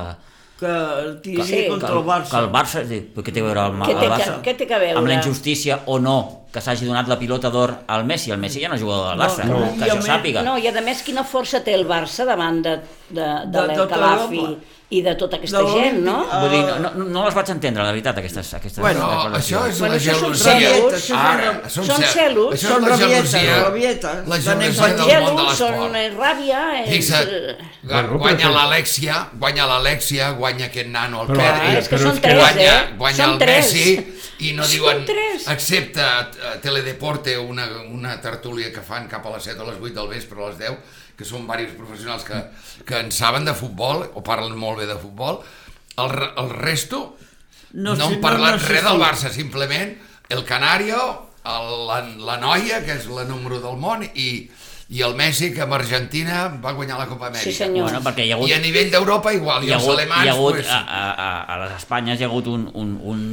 Speaker 2: que tirés
Speaker 4: Sí.
Speaker 2: contra
Speaker 1: que el,
Speaker 2: el Barça.
Speaker 1: que el Barça, dic, però què té a veure el,
Speaker 4: Què té
Speaker 1: el
Speaker 4: que-
Speaker 1: Barça?
Speaker 4: què té que veure?
Speaker 1: Amb la injustícia o no que s'hagi donat la pilota d'or al Messi. El Messi ja no és jugador del
Speaker 2: No,
Speaker 1: Barça,
Speaker 2: no.
Speaker 1: que jo
Speaker 2: No.
Speaker 1: sàpiga.
Speaker 4: No, i a més quina força té el Barça davant de, de, de,
Speaker 2: De
Speaker 4: de
Speaker 2: tota
Speaker 4: l'Elcalafi
Speaker 2: Europa.
Speaker 4: i de tota aquesta
Speaker 2: De
Speaker 4: gent, no?
Speaker 2: l'Olímpic.
Speaker 1: Vull dir, no, no, no les vaig entendre, la veritat, aquestes, aquestes
Speaker 2: Bueno,
Speaker 3: No, això és
Speaker 4: Bueno,
Speaker 3: la
Speaker 4: això són
Speaker 3: gelosia.
Speaker 2: rabietes, això són
Speaker 3: Ara,
Speaker 2: rab-
Speaker 3: són
Speaker 4: són
Speaker 3: cel-
Speaker 4: celos,
Speaker 3: Això
Speaker 2: són
Speaker 3: és la
Speaker 2: rabietes,
Speaker 3: gelosia.
Speaker 2: rabietes,
Speaker 3: La
Speaker 2: de
Speaker 3: gelosia
Speaker 2: nens
Speaker 4: Són
Speaker 3: del món de
Speaker 4: gelos, són
Speaker 3: l'esport.
Speaker 4: eh, ràbia... És... eh,
Speaker 3: Fixa't,
Speaker 5: Bueno,
Speaker 3: guanya
Speaker 5: però-
Speaker 3: l'Alexia, guanya l'Alexia, guanya aquest nano, el
Speaker 5: Però-
Speaker 4: Ah,
Speaker 3: Pedri,
Speaker 4: és que
Speaker 5: Però
Speaker 4: són
Speaker 5: és que
Speaker 4: tres,
Speaker 3: guanya,
Speaker 4: eh?
Speaker 3: guanya
Speaker 4: són
Speaker 3: el
Speaker 4: tres.
Speaker 3: Messi i no
Speaker 4: Són
Speaker 3: diuen,
Speaker 4: tres.
Speaker 3: excepte a Teledeporte, una, una tertúlia que fan cap a les 7 o les 8 del vespre o a les 10, que són diversos professionals que, que en saben de futbol o parlen molt bé de futbol, el, re- el resto
Speaker 2: No,
Speaker 3: no, no
Speaker 2: sí,
Speaker 3: han
Speaker 2: no,
Speaker 3: parlat
Speaker 2: no, sí,
Speaker 3: res del
Speaker 2: sí.
Speaker 3: Barça, simplement el Canario, el, la, la noia, que és la número del món, i, i el Messi, que amb Argentina va guanyar la Copa Amèrica.
Speaker 4: Sí, senyor.
Speaker 1: Bueno, perquè hi ha hagut...
Speaker 3: I a nivell d'Europa igual, i
Speaker 1: hi ha
Speaker 3: els
Speaker 1: hagut,
Speaker 3: alemans...
Speaker 1: hi ha hagut Ah,
Speaker 3: pues,
Speaker 1: a, a, a- a les Espanyes hi ha hagut un, un, un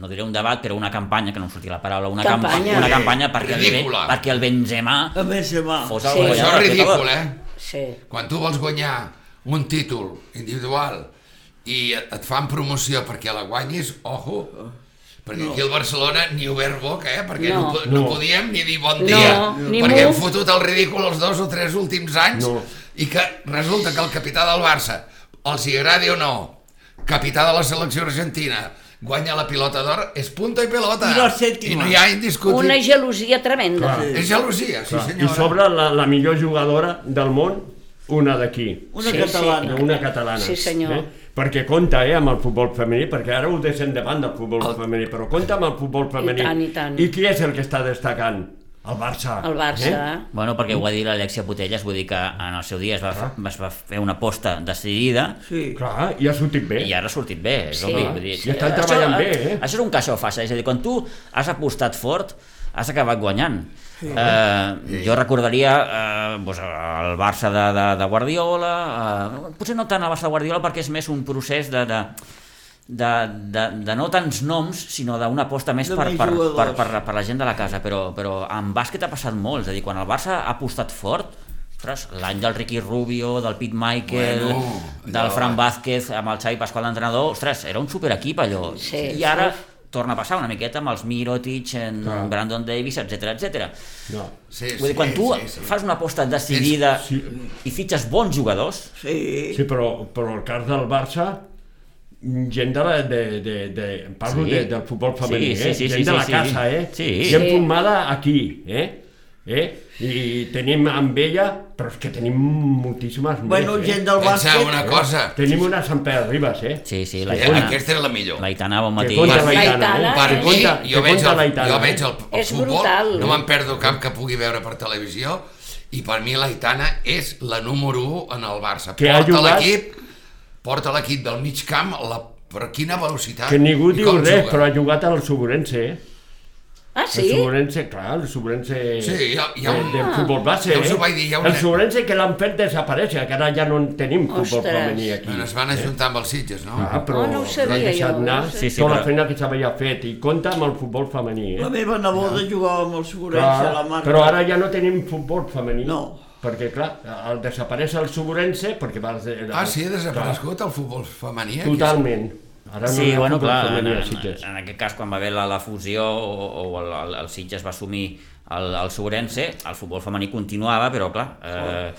Speaker 1: no diré un debat, però una campanya, que no em sortia la paraula, una campanya,
Speaker 4: Campanya.
Speaker 1: una campanya perquè, el, Ben-
Speaker 3: Ridícula.
Speaker 1: perquè el Benzema
Speaker 2: A més, se va.
Speaker 1: fos
Speaker 4: Sí.
Speaker 1: el
Speaker 4: Això
Speaker 3: Això
Speaker 1: guanyador.
Speaker 3: és
Speaker 1: de tot.
Speaker 3: ridícul, eh?
Speaker 4: Sí.
Speaker 3: Quan tu vols guanyar un títol individual i et et fan promoció perquè la guanyis, ojo, perquè aquí al Barcelona ni obert boca, eh? Perquè no,
Speaker 4: No.
Speaker 3: po- no
Speaker 5: No.
Speaker 3: podíem ni dir bon
Speaker 4: No,
Speaker 3: dia,
Speaker 4: ni
Speaker 3: perquè hem
Speaker 4: muf.
Speaker 3: fotut el ridícul els dos o tres últims anys
Speaker 5: No.
Speaker 3: i que resulta que el capità del Barça, els hi agradi o no, capità de la selecció argentina, guanya la pilota d'or, és punta i pelota.
Speaker 2: I la sèptima.
Speaker 3: I no hi ha indiscutible.
Speaker 4: Una gelosia tremenda.
Speaker 5: Clar.
Speaker 3: És gelosia, sí
Speaker 5: I
Speaker 3: senyora.
Speaker 5: sobre la, la millor jugadora del món, una d'aquí.
Speaker 2: Una
Speaker 4: Sí,
Speaker 2: catalana.
Speaker 4: sí.
Speaker 5: una catalana.
Speaker 4: Sí, senyor.
Speaker 5: Eh? Perquè compta eh, amb el futbol femení, perquè ara ho deixem de banda el futbol el... femení, però compta amb el futbol femení.
Speaker 4: I tant, i tant.
Speaker 5: I qui és el que està destacant? El Barça.
Speaker 4: El Barça.
Speaker 5: Eh?
Speaker 1: Bueno, perquè ho va dir l'Alexia Putellas, vull dir que en el seu dia es va, es va fer una aposta decidida
Speaker 2: Sí.
Speaker 5: Eh? Clar, i ha sortit bé.
Speaker 1: i ara ha sortit bé. És
Speaker 4: Sí.
Speaker 1: obvi, vull dir,
Speaker 5: I estan treballant bé, eh?
Speaker 1: Això és un caixó faixa, és a dir, quan tu has apostat fort, has acabat guanyant. Sí. Eh, jo recordaria eh, doncs, el Barça de, de, de Guardiola, eh, potser no tant el Barça de Guardiola perquè és més un procés de, de, de, de, de no tants noms, sinó d'una aposta més
Speaker 2: De
Speaker 1: per,
Speaker 2: més
Speaker 1: per, per,
Speaker 2: jugadors.
Speaker 1: per, per la gent de la casa, però, però en bàsquet ha passat molt, és a dir, quan el Barça ha apostat fort, ostres, l'any del Ricky Rubio, del Pete Michael,
Speaker 3: Bueno,
Speaker 1: bueno, del
Speaker 3: allò-
Speaker 1: Fran Vázquez amb el Xavi Pasqual d'entrenador, ostres, era un superequip allò.
Speaker 4: Sí,
Speaker 1: I ara torna a passar una miqueta amb els Mirotic, en
Speaker 5: Clar.
Speaker 1: Brandon Davis, etc etc.
Speaker 5: No.
Speaker 3: Sí,
Speaker 1: Vull dir, quan tu fas una aposta decidida
Speaker 5: Sí.
Speaker 1: i fitxes bons jugadors,
Speaker 2: Sí.
Speaker 5: Sí, però, però el cas del Barça gent de la, de, de, de, parlo
Speaker 1: Sí.
Speaker 5: de, del futbol femení,
Speaker 1: Sí, sí, sí,
Speaker 5: eh? gent
Speaker 1: sí,
Speaker 5: de la
Speaker 1: sí, sí.
Speaker 5: casa, eh?
Speaker 1: Sí.
Speaker 5: gent
Speaker 4: Sí.
Speaker 5: formada aquí, eh? eh? I tenim amb ella, però és que tenim moltíssimes
Speaker 2: Bueno,
Speaker 5: més, eh?
Speaker 2: gent del
Speaker 3: Penseu
Speaker 2: bàsquet...
Speaker 3: una cosa,
Speaker 5: Tenim una a Sant Pere Ribes, eh?
Speaker 1: sí, sí,
Speaker 3: eh,
Speaker 1: l'Aitana,
Speaker 3: aquesta era la millor.
Speaker 1: l'Aitana bon
Speaker 5: Que
Speaker 1: matí.
Speaker 5: compta
Speaker 3: Per-
Speaker 5: l'Aitana, eh?
Speaker 4: L'Aitana,
Speaker 3: Per
Speaker 4: Que
Speaker 3: mi,
Speaker 5: compta,
Speaker 3: jo
Speaker 5: que
Speaker 3: veig
Speaker 5: compta
Speaker 3: el,
Speaker 5: l'Aitana,
Speaker 3: jo
Speaker 5: eh?
Speaker 3: veig el, el
Speaker 4: És
Speaker 3: futbol,
Speaker 4: brutal.
Speaker 3: no me'n perdo cap que pugui veure per televisió, i per mi l'Aitana és la número 1 en el Barça.
Speaker 5: Que ha
Speaker 3: porta
Speaker 5: jugat-
Speaker 3: l'equip, porta l'equip del mig camp, la, per quina velocitat.
Speaker 5: Que ningú
Speaker 3: Ah, i
Speaker 5: diu
Speaker 3: com
Speaker 5: res,
Speaker 3: juga.
Speaker 5: però ha jugat al Suburense, eh?
Speaker 4: Ah,
Speaker 3: Doncs
Speaker 5: El
Speaker 4: sí?
Speaker 5: Suburense, clar, el Suburense...
Speaker 3: Sí, hi ha- hi ha
Speaker 5: de-
Speaker 3: un-
Speaker 5: De, futbol base,
Speaker 3: Ja us
Speaker 5: eh?
Speaker 3: ho vaig dir, hi ha un
Speaker 5: El
Speaker 3: nen.
Speaker 5: Suburense que l'han fet desaparèixer, que ara ja no en tenim futbol
Speaker 4: Ostres.
Speaker 5: femení aquí.
Speaker 3: Bueno, es van ajuntar amb els Sitges, no?
Speaker 5: Ah, però
Speaker 4: Oh, no ho sabia
Speaker 5: l'han deixat
Speaker 4: jo,
Speaker 5: anar
Speaker 4: no ho
Speaker 1: sabia. Sí, sí,
Speaker 5: tota la
Speaker 1: però-
Speaker 5: feina que s'havia fet i compta amb el futbol femení,
Speaker 2: La
Speaker 5: eh?
Speaker 2: meva neboda jugava amb el Segurença, la
Speaker 5: Clar,
Speaker 2: Marta.
Speaker 5: però ara ja no tenim futbol femení.
Speaker 2: No.
Speaker 5: Perquè, clar, el desapareix el Suburense perquè va...
Speaker 3: Ah, sí, ha desaparegut el futbol femení. eh, aquí.
Speaker 5: Totalment. Ara no
Speaker 1: Ah, Sí,
Speaker 5: hi ha
Speaker 1: bueno,
Speaker 5: futbol
Speaker 1: clar, en,
Speaker 5: femení a
Speaker 1: en,
Speaker 5: Sitges.
Speaker 1: en aquest cas, quan va haver la, la fusió o, o el, el, el Sitges va assumir el, el Sobrense, el futbol femení continuava, però clar, eh,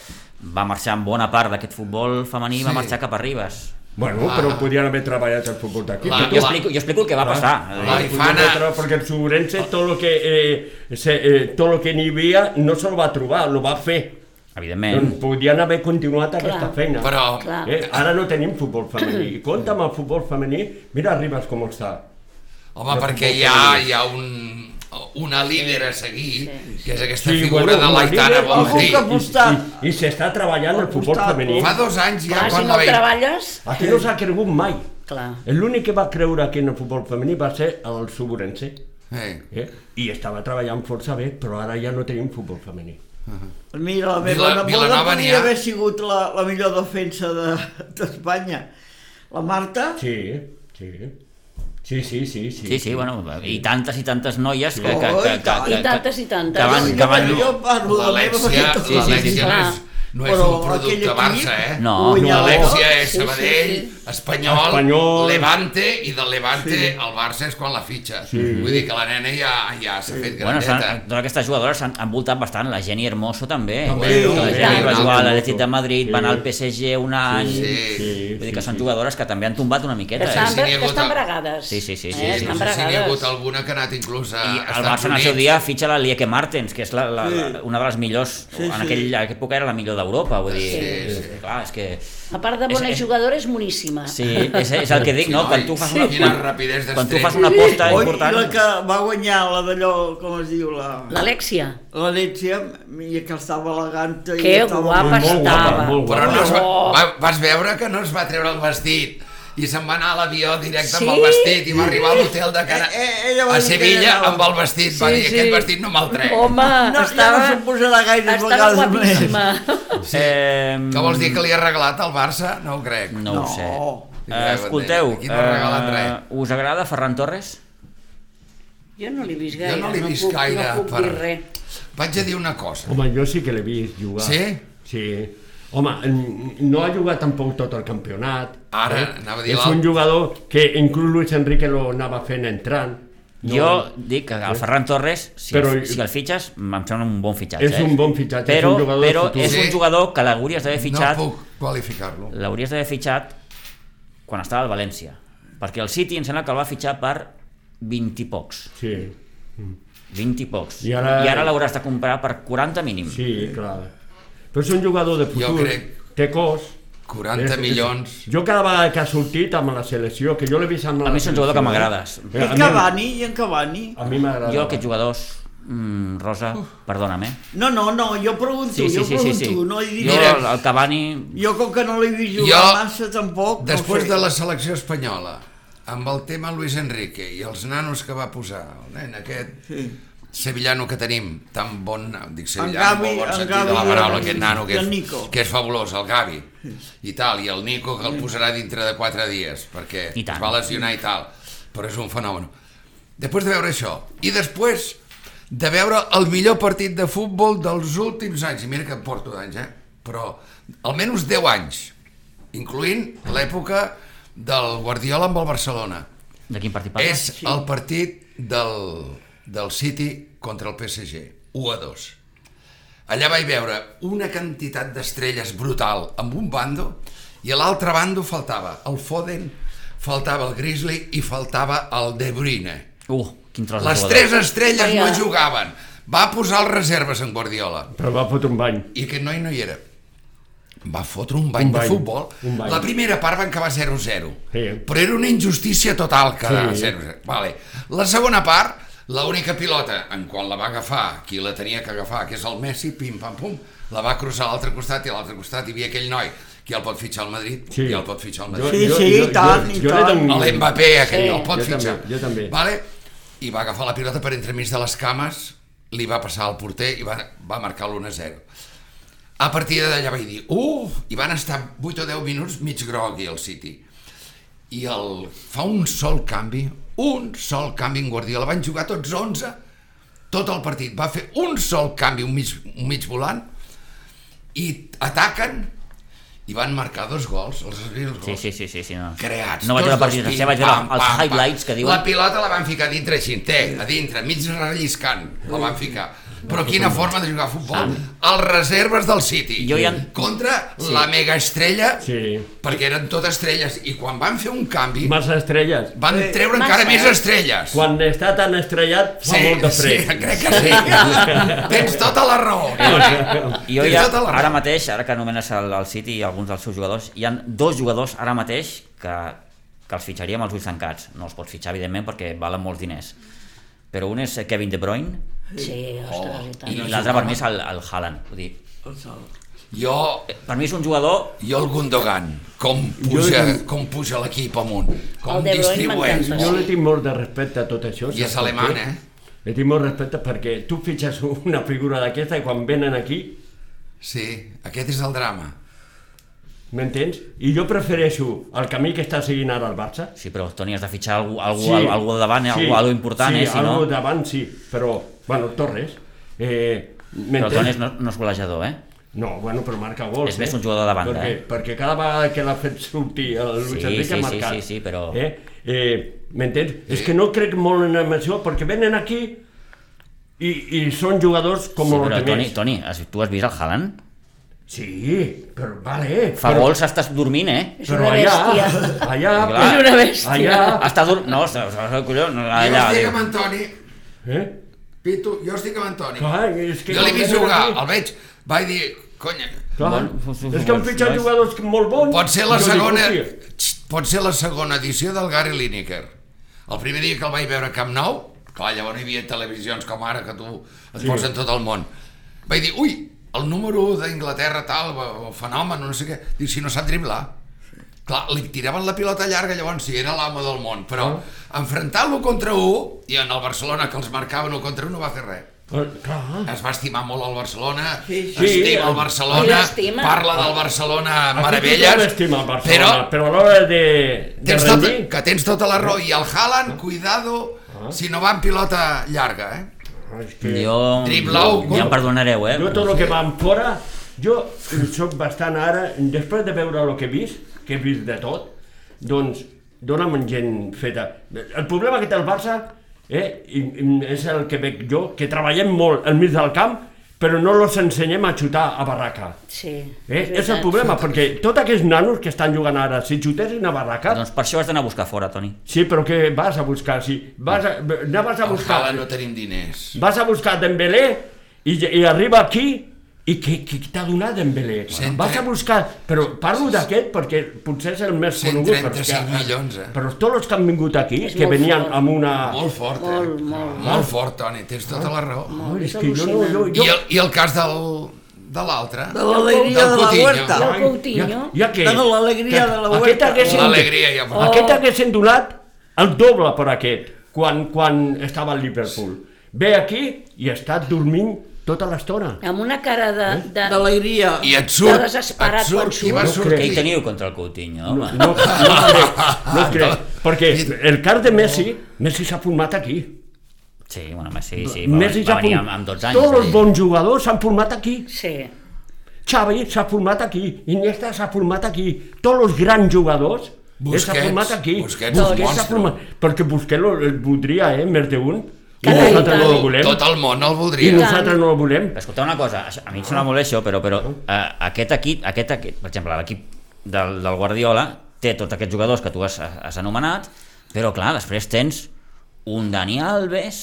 Speaker 1: va marxar en bona part d'aquest futbol femení, sí. va
Speaker 3: Sí.
Speaker 1: marxar cap a Ribes.
Speaker 5: Bueno,
Speaker 3: Ah.
Speaker 5: però podrien haver treballat el futbol d'aquí.
Speaker 3: Clar,
Speaker 1: Jo, explico, jo explico el que va passar.
Speaker 3: La
Speaker 5: Podían
Speaker 3: Ifana-
Speaker 5: encontrar- Perquè el suburense tot lo que, eh, se, eh, tot lo que n'hi havia no se'l va trobar, lo va fer.
Speaker 1: Evidentment.
Speaker 5: Doncs podien haver continuat aquesta feina.
Speaker 3: Però
Speaker 4: Clar.
Speaker 5: Eh, ara no tenim futbol femení. I compta amb el futbol femení, mira Ribas com està.
Speaker 3: Home,
Speaker 5: De
Speaker 3: perquè
Speaker 5: futbol
Speaker 3: hi ha,
Speaker 5: femení.
Speaker 3: hi ha un, una líder a seguir, que és aquesta
Speaker 5: Sí,
Speaker 3: figura
Speaker 5: bueno,
Speaker 3: de
Speaker 5: una
Speaker 3: l'Aitana
Speaker 5: líder,
Speaker 3: Bontí.
Speaker 2: algú que- apostar.
Speaker 5: I, i, i s'està treballant el futbol
Speaker 2: Apostar,
Speaker 5: femení.
Speaker 3: Fa dos anys ja,
Speaker 4: Clar, si
Speaker 3: quan
Speaker 4: no
Speaker 3: la veig...
Speaker 4: treballes...
Speaker 5: Aquí no s'ha cregut mai.
Speaker 4: Clar.
Speaker 5: L'únic que va creure aquí en el futbol femení va ser el suburense.
Speaker 3: Eh.
Speaker 5: Eh? I estava treballant força bé, però ara ja no tenim futbol femení.
Speaker 2: Mira, la meva
Speaker 3: Vila-
Speaker 2: Vila, neboda
Speaker 3: Vilanova n'hi ha.
Speaker 2: podria haver sigut la, la millor defensa de- d'Espanya. De, la Marta, sí.
Speaker 5: Sí, sí. Sí, sí, sí. Sí,
Speaker 1: Sí, sí, bueno, i tantes i tantes noies que, que,
Speaker 2: Oh,
Speaker 1: que,
Speaker 2: i
Speaker 1: que,
Speaker 2: tant.
Speaker 1: que,
Speaker 4: I tantes i tantes.
Speaker 1: Que van, que van,
Speaker 2: jo parlo de la meva
Speaker 3: L'Alexia
Speaker 2: defensa.
Speaker 1: Sí, sí, sí,
Speaker 3: l'Alexia no,
Speaker 4: clar.
Speaker 3: és, no és
Speaker 2: Però
Speaker 3: un producte
Speaker 2: aquell equip
Speaker 3: Barça, eh?
Speaker 1: No.
Speaker 2: guanyador-
Speaker 3: L'Alexia és
Speaker 4: Sí,
Speaker 3: Sabadell,
Speaker 4: sí,
Speaker 3: Espanyol,
Speaker 5: Espanyol.
Speaker 3: Levante, i del Levante el Barça és quan la fitxa. Vull dir que la nena ja ja s'ha fet
Speaker 1: Bueno,
Speaker 3: graneta.
Speaker 1: estan, totes aquestes jugadores s'han han voltat bastant, la Jenny Hermoso també,
Speaker 3: També,
Speaker 1: Que la
Speaker 3: també,
Speaker 1: Jenny va
Speaker 3: també.
Speaker 1: jugar a l'Atlètic de Madrid,
Speaker 5: Sí.
Speaker 1: va anar al PSG un any,
Speaker 3: sí,
Speaker 1: vull dir que són jugadores que també han tombat una
Speaker 4: Que
Speaker 1: miqueta. eh?
Speaker 4: estan,
Speaker 3: sí, n'hi ha
Speaker 4: que
Speaker 3: hagut
Speaker 4: estan
Speaker 3: el-
Speaker 4: bregades.
Speaker 1: Sí, sí, sí, sí,
Speaker 4: Eh?
Speaker 1: sí,
Speaker 3: No
Speaker 4: Estan
Speaker 3: sé si n'hi ha hagut
Speaker 4: bregades.
Speaker 3: alguna que ha anat inclús a
Speaker 1: I el
Speaker 3: Estats
Speaker 1: Barça en el seu
Speaker 3: Units.
Speaker 1: dia fitxa la Lieke Martens, que és la, la,
Speaker 2: Sí.
Speaker 1: la, una de les millors,
Speaker 2: Sí,
Speaker 1: en
Speaker 2: sí.
Speaker 1: aquella època era la millor d'Europa, vull dir,
Speaker 3: Sí, sí.
Speaker 1: clar, és que...
Speaker 4: A part de
Speaker 1: És-
Speaker 4: bona
Speaker 1: és-
Speaker 4: jugadora, és moníssima.
Speaker 1: Sí, és, és el que dic,
Speaker 3: Sí,
Speaker 1: no?
Speaker 3: no?
Speaker 1: Quan
Speaker 3: I
Speaker 1: tu fas
Speaker 3: sí.
Speaker 1: una,
Speaker 3: Quina rapidesa
Speaker 1: quan, quan tu
Speaker 3: d'extrem.
Speaker 1: fas una aposta
Speaker 2: Oi, i la
Speaker 1: important...
Speaker 2: que va guanyar, la d'allò, com es diu, la...
Speaker 4: L'Alexia,
Speaker 2: L'Alexia, i que estava elegant... i
Speaker 4: que
Speaker 2: estava
Speaker 4: guapa
Speaker 5: molt guapa,
Speaker 4: estava.
Speaker 5: molt guapa.
Speaker 3: Però no es va,
Speaker 4: Oh.
Speaker 3: va, vas veure que no es va treure el vestit i se'n va anar a l'avió directe amb el
Speaker 4: Sí?
Speaker 3: vestit i va arribar a l'hotel de Cana...
Speaker 2: Eh, eh, ella va
Speaker 3: a
Speaker 2: dir que
Speaker 3: Sevilla
Speaker 2: era-
Speaker 3: amb el vestit, va dir, aquest vestit no me'l trec.
Speaker 4: Home,
Speaker 2: No, estava...
Speaker 4: estava,
Speaker 2: ja no s'ho posarà gaire
Speaker 4: estava
Speaker 2: vegades
Speaker 4: guapíssima.
Speaker 2: més.
Speaker 3: Sí.
Speaker 1: Eh,
Speaker 3: Que vols dir que li ha arreglat al Barça? No ho crec.
Speaker 1: No, ho sé.
Speaker 2: No.
Speaker 1: Eh, escolteu, eh,
Speaker 3: Aquí no ha regalat res.
Speaker 1: us agrada Ferran Torres?
Speaker 4: Jo no l'he vist
Speaker 3: Jo
Speaker 4: gaire,
Speaker 3: no l'he vist
Speaker 4: puc,
Speaker 3: gaire,
Speaker 4: no puc
Speaker 3: per-
Speaker 4: dir res.
Speaker 3: Vaig a dir una cosa.
Speaker 5: Home, jo sí que l'he vist jugar.
Speaker 3: Sí?
Speaker 5: Sí. Home, n- no ha jugat tampoc tot el campionat. Eh?
Speaker 3: Ara, anava a dir
Speaker 5: És
Speaker 3: l'alt.
Speaker 5: un jugador que inclús Luis Enrique lo anava fent entrant. No, Eh?
Speaker 1: Jo dic que el Ferran Torres, si,
Speaker 5: Però-
Speaker 1: el, si el fitxes, em sembla un bon fitxatge.
Speaker 5: És
Speaker 1: eh?
Speaker 5: un bon fitxatge, és
Speaker 1: però,
Speaker 5: un jugador de
Speaker 1: però
Speaker 5: futur.
Speaker 1: és un
Speaker 3: Sí.
Speaker 1: jugador que l'hauries d'haver
Speaker 3: No
Speaker 1: fitxat Eh,
Speaker 3: puc qualificar-lo.
Speaker 1: l'hauries d'haver fitxat quan estava al València perquè el City em sembla que el va fitxar per 20 i pocs
Speaker 5: Sí,
Speaker 1: 20 i pocs
Speaker 5: I ara-
Speaker 1: i ara l'hauràs de comprar per 40 mínim
Speaker 5: sí, clar. Però és un jugador de futur.
Speaker 3: crec-
Speaker 5: Té cos. Eh?
Speaker 3: 40 milions.
Speaker 5: Jo cada vegada que ha sortit amb la selecció, que jo l'he vist amb la
Speaker 1: a mi és un jugador que m'agrada
Speaker 5: Eh,
Speaker 2: I
Speaker 5: a
Speaker 2: en
Speaker 5: mi-
Speaker 2: Cavani, i en Cavani.
Speaker 5: A mi m'agrada.
Speaker 1: jo aquests jugadors mm, Rosa, perdona'm eh?
Speaker 2: No, no, no, jo pregunto,
Speaker 1: sí, sí,
Speaker 2: jo
Speaker 1: sí, sí,
Speaker 2: pregunto,
Speaker 1: sí.
Speaker 2: no hi
Speaker 1: jo
Speaker 2: diré.
Speaker 3: Mira,
Speaker 1: el, el Cavani
Speaker 2: Jo com que no l'he vist jugar
Speaker 3: Jo-
Speaker 2: massa tampoc,
Speaker 3: Després
Speaker 2: no ho sé.
Speaker 3: de la selecció espanyola, amb el tema Luis Enrique i els nanos que va posar, el nen aquest sí. sevillano que tenim, tan bon, dic sevillano,
Speaker 2: Gavi-
Speaker 3: molt bon
Speaker 2: en
Speaker 3: sentit
Speaker 2: Gavi
Speaker 3: de la
Speaker 2: i el-
Speaker 3: paraula, aquest nano que
Speaker 2: i el
Speaker 3: és,
Speaker 2: Nico.
Speaker 3: que és fabulós, el Gavi, i tal, i el Nico que el posarà dintre de 4 dies, perquè
Speaker 1: I tant.
Speaker 3: es va lesionar i tal, però és un fenomen. Després de veure això, i després de veure el millor partit de futbol dels últims anys, i mira que em porto d'anys, eh? però almenys 10 anys, incloent l'època del Guardiola amb el Barcelona.
Speaker 1: de quin partit parles?
Speaker 3: És el partit del, del City contra el PSG, 1 a 2. Allà vaig veure una quantitat d'estrelles brutal amb un bando i a l'altre bando faltava el Foden, faltava el Grizzly i faltava el De Bruyne.
Speaker 1: uh, quin tros de
Speaker 3: Les
Speaker 1: jugador
Speaker 3: tres estrelles no
Speaker 4: Ai, ja.
Speaker 3: jugaven. Va posar els reserves en Guardiola
Speaker 5: Però va fotre un bany.
Speaker 3: i aquest noi no hi era. Va fotre un bany,
Speaker 5: Un
Speaker 3: de
Speaker 5: bany,
Speaker 3: futbol.
Speaker 5: un bany.
Speaker 3: La primera part van acabar 0-0.
Speaker 5: Sí.
Speaker 3: Però era una injustícia total quedar
Speaker 5: Sí.
Speaker 3: 0-0. Vale. La segona part, l'única pilota, en quan la va agafar, qui la tenia que agafar, que és el Messi, pim-pam-pum, la va cruzar a l'altre costat i a l'altre costat hi havia aquell noi que el pot fitxar al Madrid,
Speaker 5: Sí.
Speaker 3: i el pot fitxar al Madrid.
Speaker 2: Sí, sí, i tant, i
Speaker 5: jo, jo,
Speaker 2: tant.
Speaker 5: Jo,
Speaker 3: A
Speaker 5: jo,
Speaker 3: l'Mbappé, aquell,
Speaker 4: Sí.
Speaker 3: el pot
Speaker 5: Jo també,
Speaker 3: fitxar.
Speaker 5: jo també.
Speaker 3: Vale? I va agafar la pilota per entremig de les cames, li va passar al porter i va, va marcar l'1-0. A partir d'allà vaig dir, uf, i van estar 8 o 10 minuts mig grogui al City. I el, fa un sol canvi, un sol canvi en Guardiola, van jugar tots 11, tot el partit, va fer un sol canvi, un mig, un mig volant, i ataquen, i van marcar dos gols, els has vist els
Speaker 1: sí,
Speaker 3: gols?
Speaker 1: sí, sí, sí, sí no.
Speaker 3: creats.
Speaker 1: no vaig
Speaker 3: tots
Speaker 1: veure partits
Speaker 3: dos
Speaker 1: de vaig veure els highlights que diuen
Speaker 3: La pilota la van ficar dintre així, té, a dintre, mig relliscant, la van ficar. Però quina forma de jugar a futbol. Els reserves del City.
Speaker 1: Jo ja en-
Speaker 3: Contra la mega estrella,
Speaker 5: Sí.
Speaker 3: perquè eren totes estrelles. I quan van fer un canvi,
Speaker 5: Massa estrelles.
Speaker 3: van treure encara més estrelles.
Speaker 5: Quan està tan estrellat, fa
Speaker 3: Sí,
Speaker 5: molt de
Speaker 3: sí,
Speaker 5: fred.
Speaker 3: crec que sí. Tens tota la raó.
Speaker 1: I jo
Speaker 3: Tens
Speaker 1: ja,
Speaker 3: tota la
Speaker 1: ara
Speaker 3: raó.
Speaker 1: mateix, ara que anomenes el, el City i alguns dels seus jugadors, hi han dos jugadors ara mateix que, que els fitxaria amb els ulls tancats. No els pots fitxar, evidentment, perquè valen molts diners. Però un és Kevin De Bruyne
Speaker 4: Sí, ostres, i
Speaker 3: Oh,
Speaker 1: i
Speaker 4: tant.
Speaker 1: l'altre per mi és el, el Haaland. Vull dir,
Speaker 3: Jo
Speaker 1: per mi és un jugador...
Speaker 3: Jo el Gundogan, com puja, com puja l'equip amunt, com
Speaker 4: El De Bruyne
Speaker 3: distribueix.
Speaker 4: m'encanta.
Speaker 5: Jo li tinc molt de respecte a tot això.
Speaker 3: I és
Speaker 5: saps
Speaker 3: alemany,
Speaker 5: per què?
Speaker 3: eh?
Speaker 5: Li tinc molt respecte perquè tu fitxes una figura d'aquesta i quan venen aquí,
Speaker 3: Sí, aquest és el drama.
Speaker 5: m'entens? I jo prefereixo el camí que està seguint ara el Barça.
Speaker 1: Sí, però, Toni, has de fitxar algú, algú, sí, algú davant, eh? algú, algú important,
Speaker 5: sí,
Speaker 1: eh? Si no...
Speaker 5: algú davant, sí, però, bueno, Torres, eh,
Speaker 1: Però
Speaker 5: m'entens?
Speaker 1: Toni no, no és golejador, eh?
Speaker 5: No, bueno, però marca gols.
Speaker 1: És més un jugador de banda,
Speaker 5: perquè,
Speaker 1: eh?
Speaker 5: Perquè cada vegada que l'ha fet sortir el Luis
Speaker 1: Sí,
Speaker 5: Enrique
Speaker 1: sí,
Speaker 5: ha
Speaker 1: sí,
Speaker 5: marcat.
Speaker 1: sí, sí, però-
Speaker 5: Eh? Eh, M'entens? És que no crec molt en això, perquè venen aquí i, i són jugadors com
Speaker 1: Sí,
Speaker 5: els
Speaker 1: però Toni,
Speaker 5: altres.
Speaker 1: Toni, has, tu has vist el Haaland?
Speaker 5: Sí, però vale.
Speaker 1: Fa
Speaker 5: però,
Speaker 1: gols, estàs dormint, eh?
Speaker 4: És
Speaker 5: Però
Speaker 4: una
Speaker 5: allà, Ah.
Speaker 4: bèstia.
Speaker 5: allà, eh?
Speaker 1: Clar. És
Speaker 4: una bèstia.
Speaker 5: Allà,
Speaker 1: Està dur... No, s- s- collons,
Speaker 3: jo
Speaker 1: Ah, allà...
Speaker 3: estic
Speaker 1: diu.
Speaker 3: amb Antoni,
Speaker 5: eh?
Speaker 3: Pitu, jo estic amb Antoni.
Speaker 5: Clar, és que...
Speaker 3: Jo l'he vist
Speaker 5: quan venen
Speaker 3: jugar,
Speaker 5: aquí-
Speaker 3: el veig, vaig dir, conya,
Speaker 5: Clar,
Speaker 1: Bueno,
Speaker 5: és que han fitxat
Speaker 1: nois.
Speaker 5: jugadors molt bons.
Speaker 3: pot ser la
Speaker 5: Jo dic,
Speaker 3: segona,
Speaker 5: hòstia.
Speaker 3: Xt, pot ser la segona edició del Gary Lineker. El primer dia que el vaig veure a Camp Nou, clar, llavors hi havia televisions com ara que tu et sí. posen tot el món. Vaig dir, ui, el número 1 d'Inglaterra tal, el fenomen, no sé què, dic, si no sap driblar. Clar, li tiraven la pilota llarga, llavors sí, era l'amo del món, però
Speaker 5: Ah.
Speaker 3: enfrontant-lo contra 1, i en el Barcelona que els marcaven 1 contra 1 no va fer res.
Speaker 5: Eh, Clar,
Speaker 3: Es va estimar molt el Barcelona,
Speaker 2: Sí,
Speaker 5: sí.
Speaker 3: estima el
Speaker 4: I
Speaker 3: Barcelona,
Speaker 4: l'estima.
Speaker 3: parla del Barcelona
Speaker 5: Aquí
Speaker 3: meravelles,
Speaker 5: tothom estima el Barcelona,
Speaker 3: però
Speaker 5: però, però a l'hora de, de
Speaker 3: tens tot,
Speaker 5: rendir...
Speaker 3: que tens tota la raó. I el Haaland, cuidado,
Speaker 5: Ah.
Speaker 3: si no va en pilota llarga, eh?
Speaker 5: És que...
Speaker 1: Jo...
Speaker 3: Driblau,
Speaker 1: Ja em
Speaker 3: gol.
Speaker 1: perdonareu, eh?
Speaker 5: Jo tot el que van fora, jo sóc bastant ara, després de veure el que he vist, que he vist de tot, doncs dona'm gent feta. El problema que té el Barça eh, i, i és el que veig jo, que treballem molt al mig del camp, però no els ensenyem a xutar a barraca.
Speaker 4: Sí.
Speaker 5: Eh? És el
Speaker 4: veritat.
Speaker 5: problema, perquè tots aquests nanos que estan jugant ara, si xutessin a barraca,
Speaker 1: Doncs per això has d'anar a buscar fora, Toni.
Speaker 5: sí, però què vas a buscar? Si vas a, anaves a
Speaker 3: El
Speaker 5: buscar...
Speaker 3: Haaland no tenim diners.
Speaker 5: Vas a buscar Dembélé i, i arriba aquí i què, què t'ha donat Dembélé?
Speaker 3: Cent
Speaker 5: Vas
Speaker 3: tre-
Speaker 5: a buscar... Però parlo d'aquest perquè potser és el més conegut. però és
Speaker 3: 135 milions, eh?
Speaker 5: Però tots els que han vingut aquí,
Speaker 4: És
Speaker 5: que
Speaker 4: molt
Speaker 5: venien
Speaker 4: fort.
Speaker 5: amb una...
Speaker 3: Molt fort, eh?
Speaker 4: Molt, molt.
Speaker 3: Molt fort, Toni, tens tota la raó.
Speaker 5: Ai, és
Speaker 4: És
Speaker 5: que jo no... Jo,
Speaker 4: al·lucinant.
Speaker 3: I
Speaker 5: jo...
Speaker 3: el, i el cas del, de l'altre?
Speaker 2: De l'alegria de
Speaker 3: Del
Speaker 2: la
Speaker 3: Coutinho.
Speaker 2: huerta.
Speaker 4: Del
Speaker 5: Ai,
Speaker 4: Coutinho.
Speaker 5: Ja, ja què?
Speaker 2: De l'alegria de la
Speaker 5: Aquest
Speaker 2: huerta.
Speaker 5: haguessin-
Speaker 3: L'alegria, ja.
Speaker 5: Oh. Aquest haguessin donat el doble per aquest, quan, quan estava al Liverpool. Ve aquí i està dormint tota l'estona.
Speaker 4: Amb una cara de...
Speaker 5: Eh?
Speaker 4: de...
Speaker 2: D'alegria.
Speaker 3: I et surt,
Speaker 4: De
Speaker 3: et
Speaker 4: desesperat quan
Speaker 3: surt, i
Speaker 4: surt.
Speaker 3: va
Speaker 5: No
Speaker 3: sortir.
Speaker 1: Què hi teniu contra el Coutinho,
Speaker 5: No,
Speaker 1: home?
Speaker 5: no, no crec, no crec, perquè el cas de Messi, Messi s'ha format aquí.
Speaker 1: Sí, bueno, sí, sí. Va,
Speaker 5: Messi
Speaker 1: va
Speaker 5: s'ha
Speaker 1: venir
Speaker 5: format.
Speaker 1: amb, amb 12 anys.
Speaker 5: Tots els
Speaker 1: sí.
Speaker 5: bons jugadors s'han format aquí.
Speaker 4: Sí.
Speaker 5: Xavi s'ha format aquí, Iniesta s'ha format aquí, tots els grans jugadors eh, s'ha
Speaker 3: Busquets,
Speaker 5: format aquí.
Speaker 3: Busquets és un
Speaker 5: s'ha
Speaker 3: monstre.
Speaker 5: format, perquè Busquets el, el voldria, eh, més d'un. I
Speaker 4: Cada
Speaker 5: nosaltres
Speaker 4: any,
Speaker 5: no el
Speaker 4: tant.
Speaker 5: volem.
Speaker 3: Tot el món el
Speaker 5: I
Speaker 3: voldria.
Speaker 5: nosaltres no el volem.
Speaker 1: Escolteu una cosa, això- a mi em sona molt bé això, però, però eh, aquest equip, aquest equip, per exemple, l'equip del, del Guardiola té tots aquests jugadors que tu has, has anomenat, però clar, després tens un Dani Alves,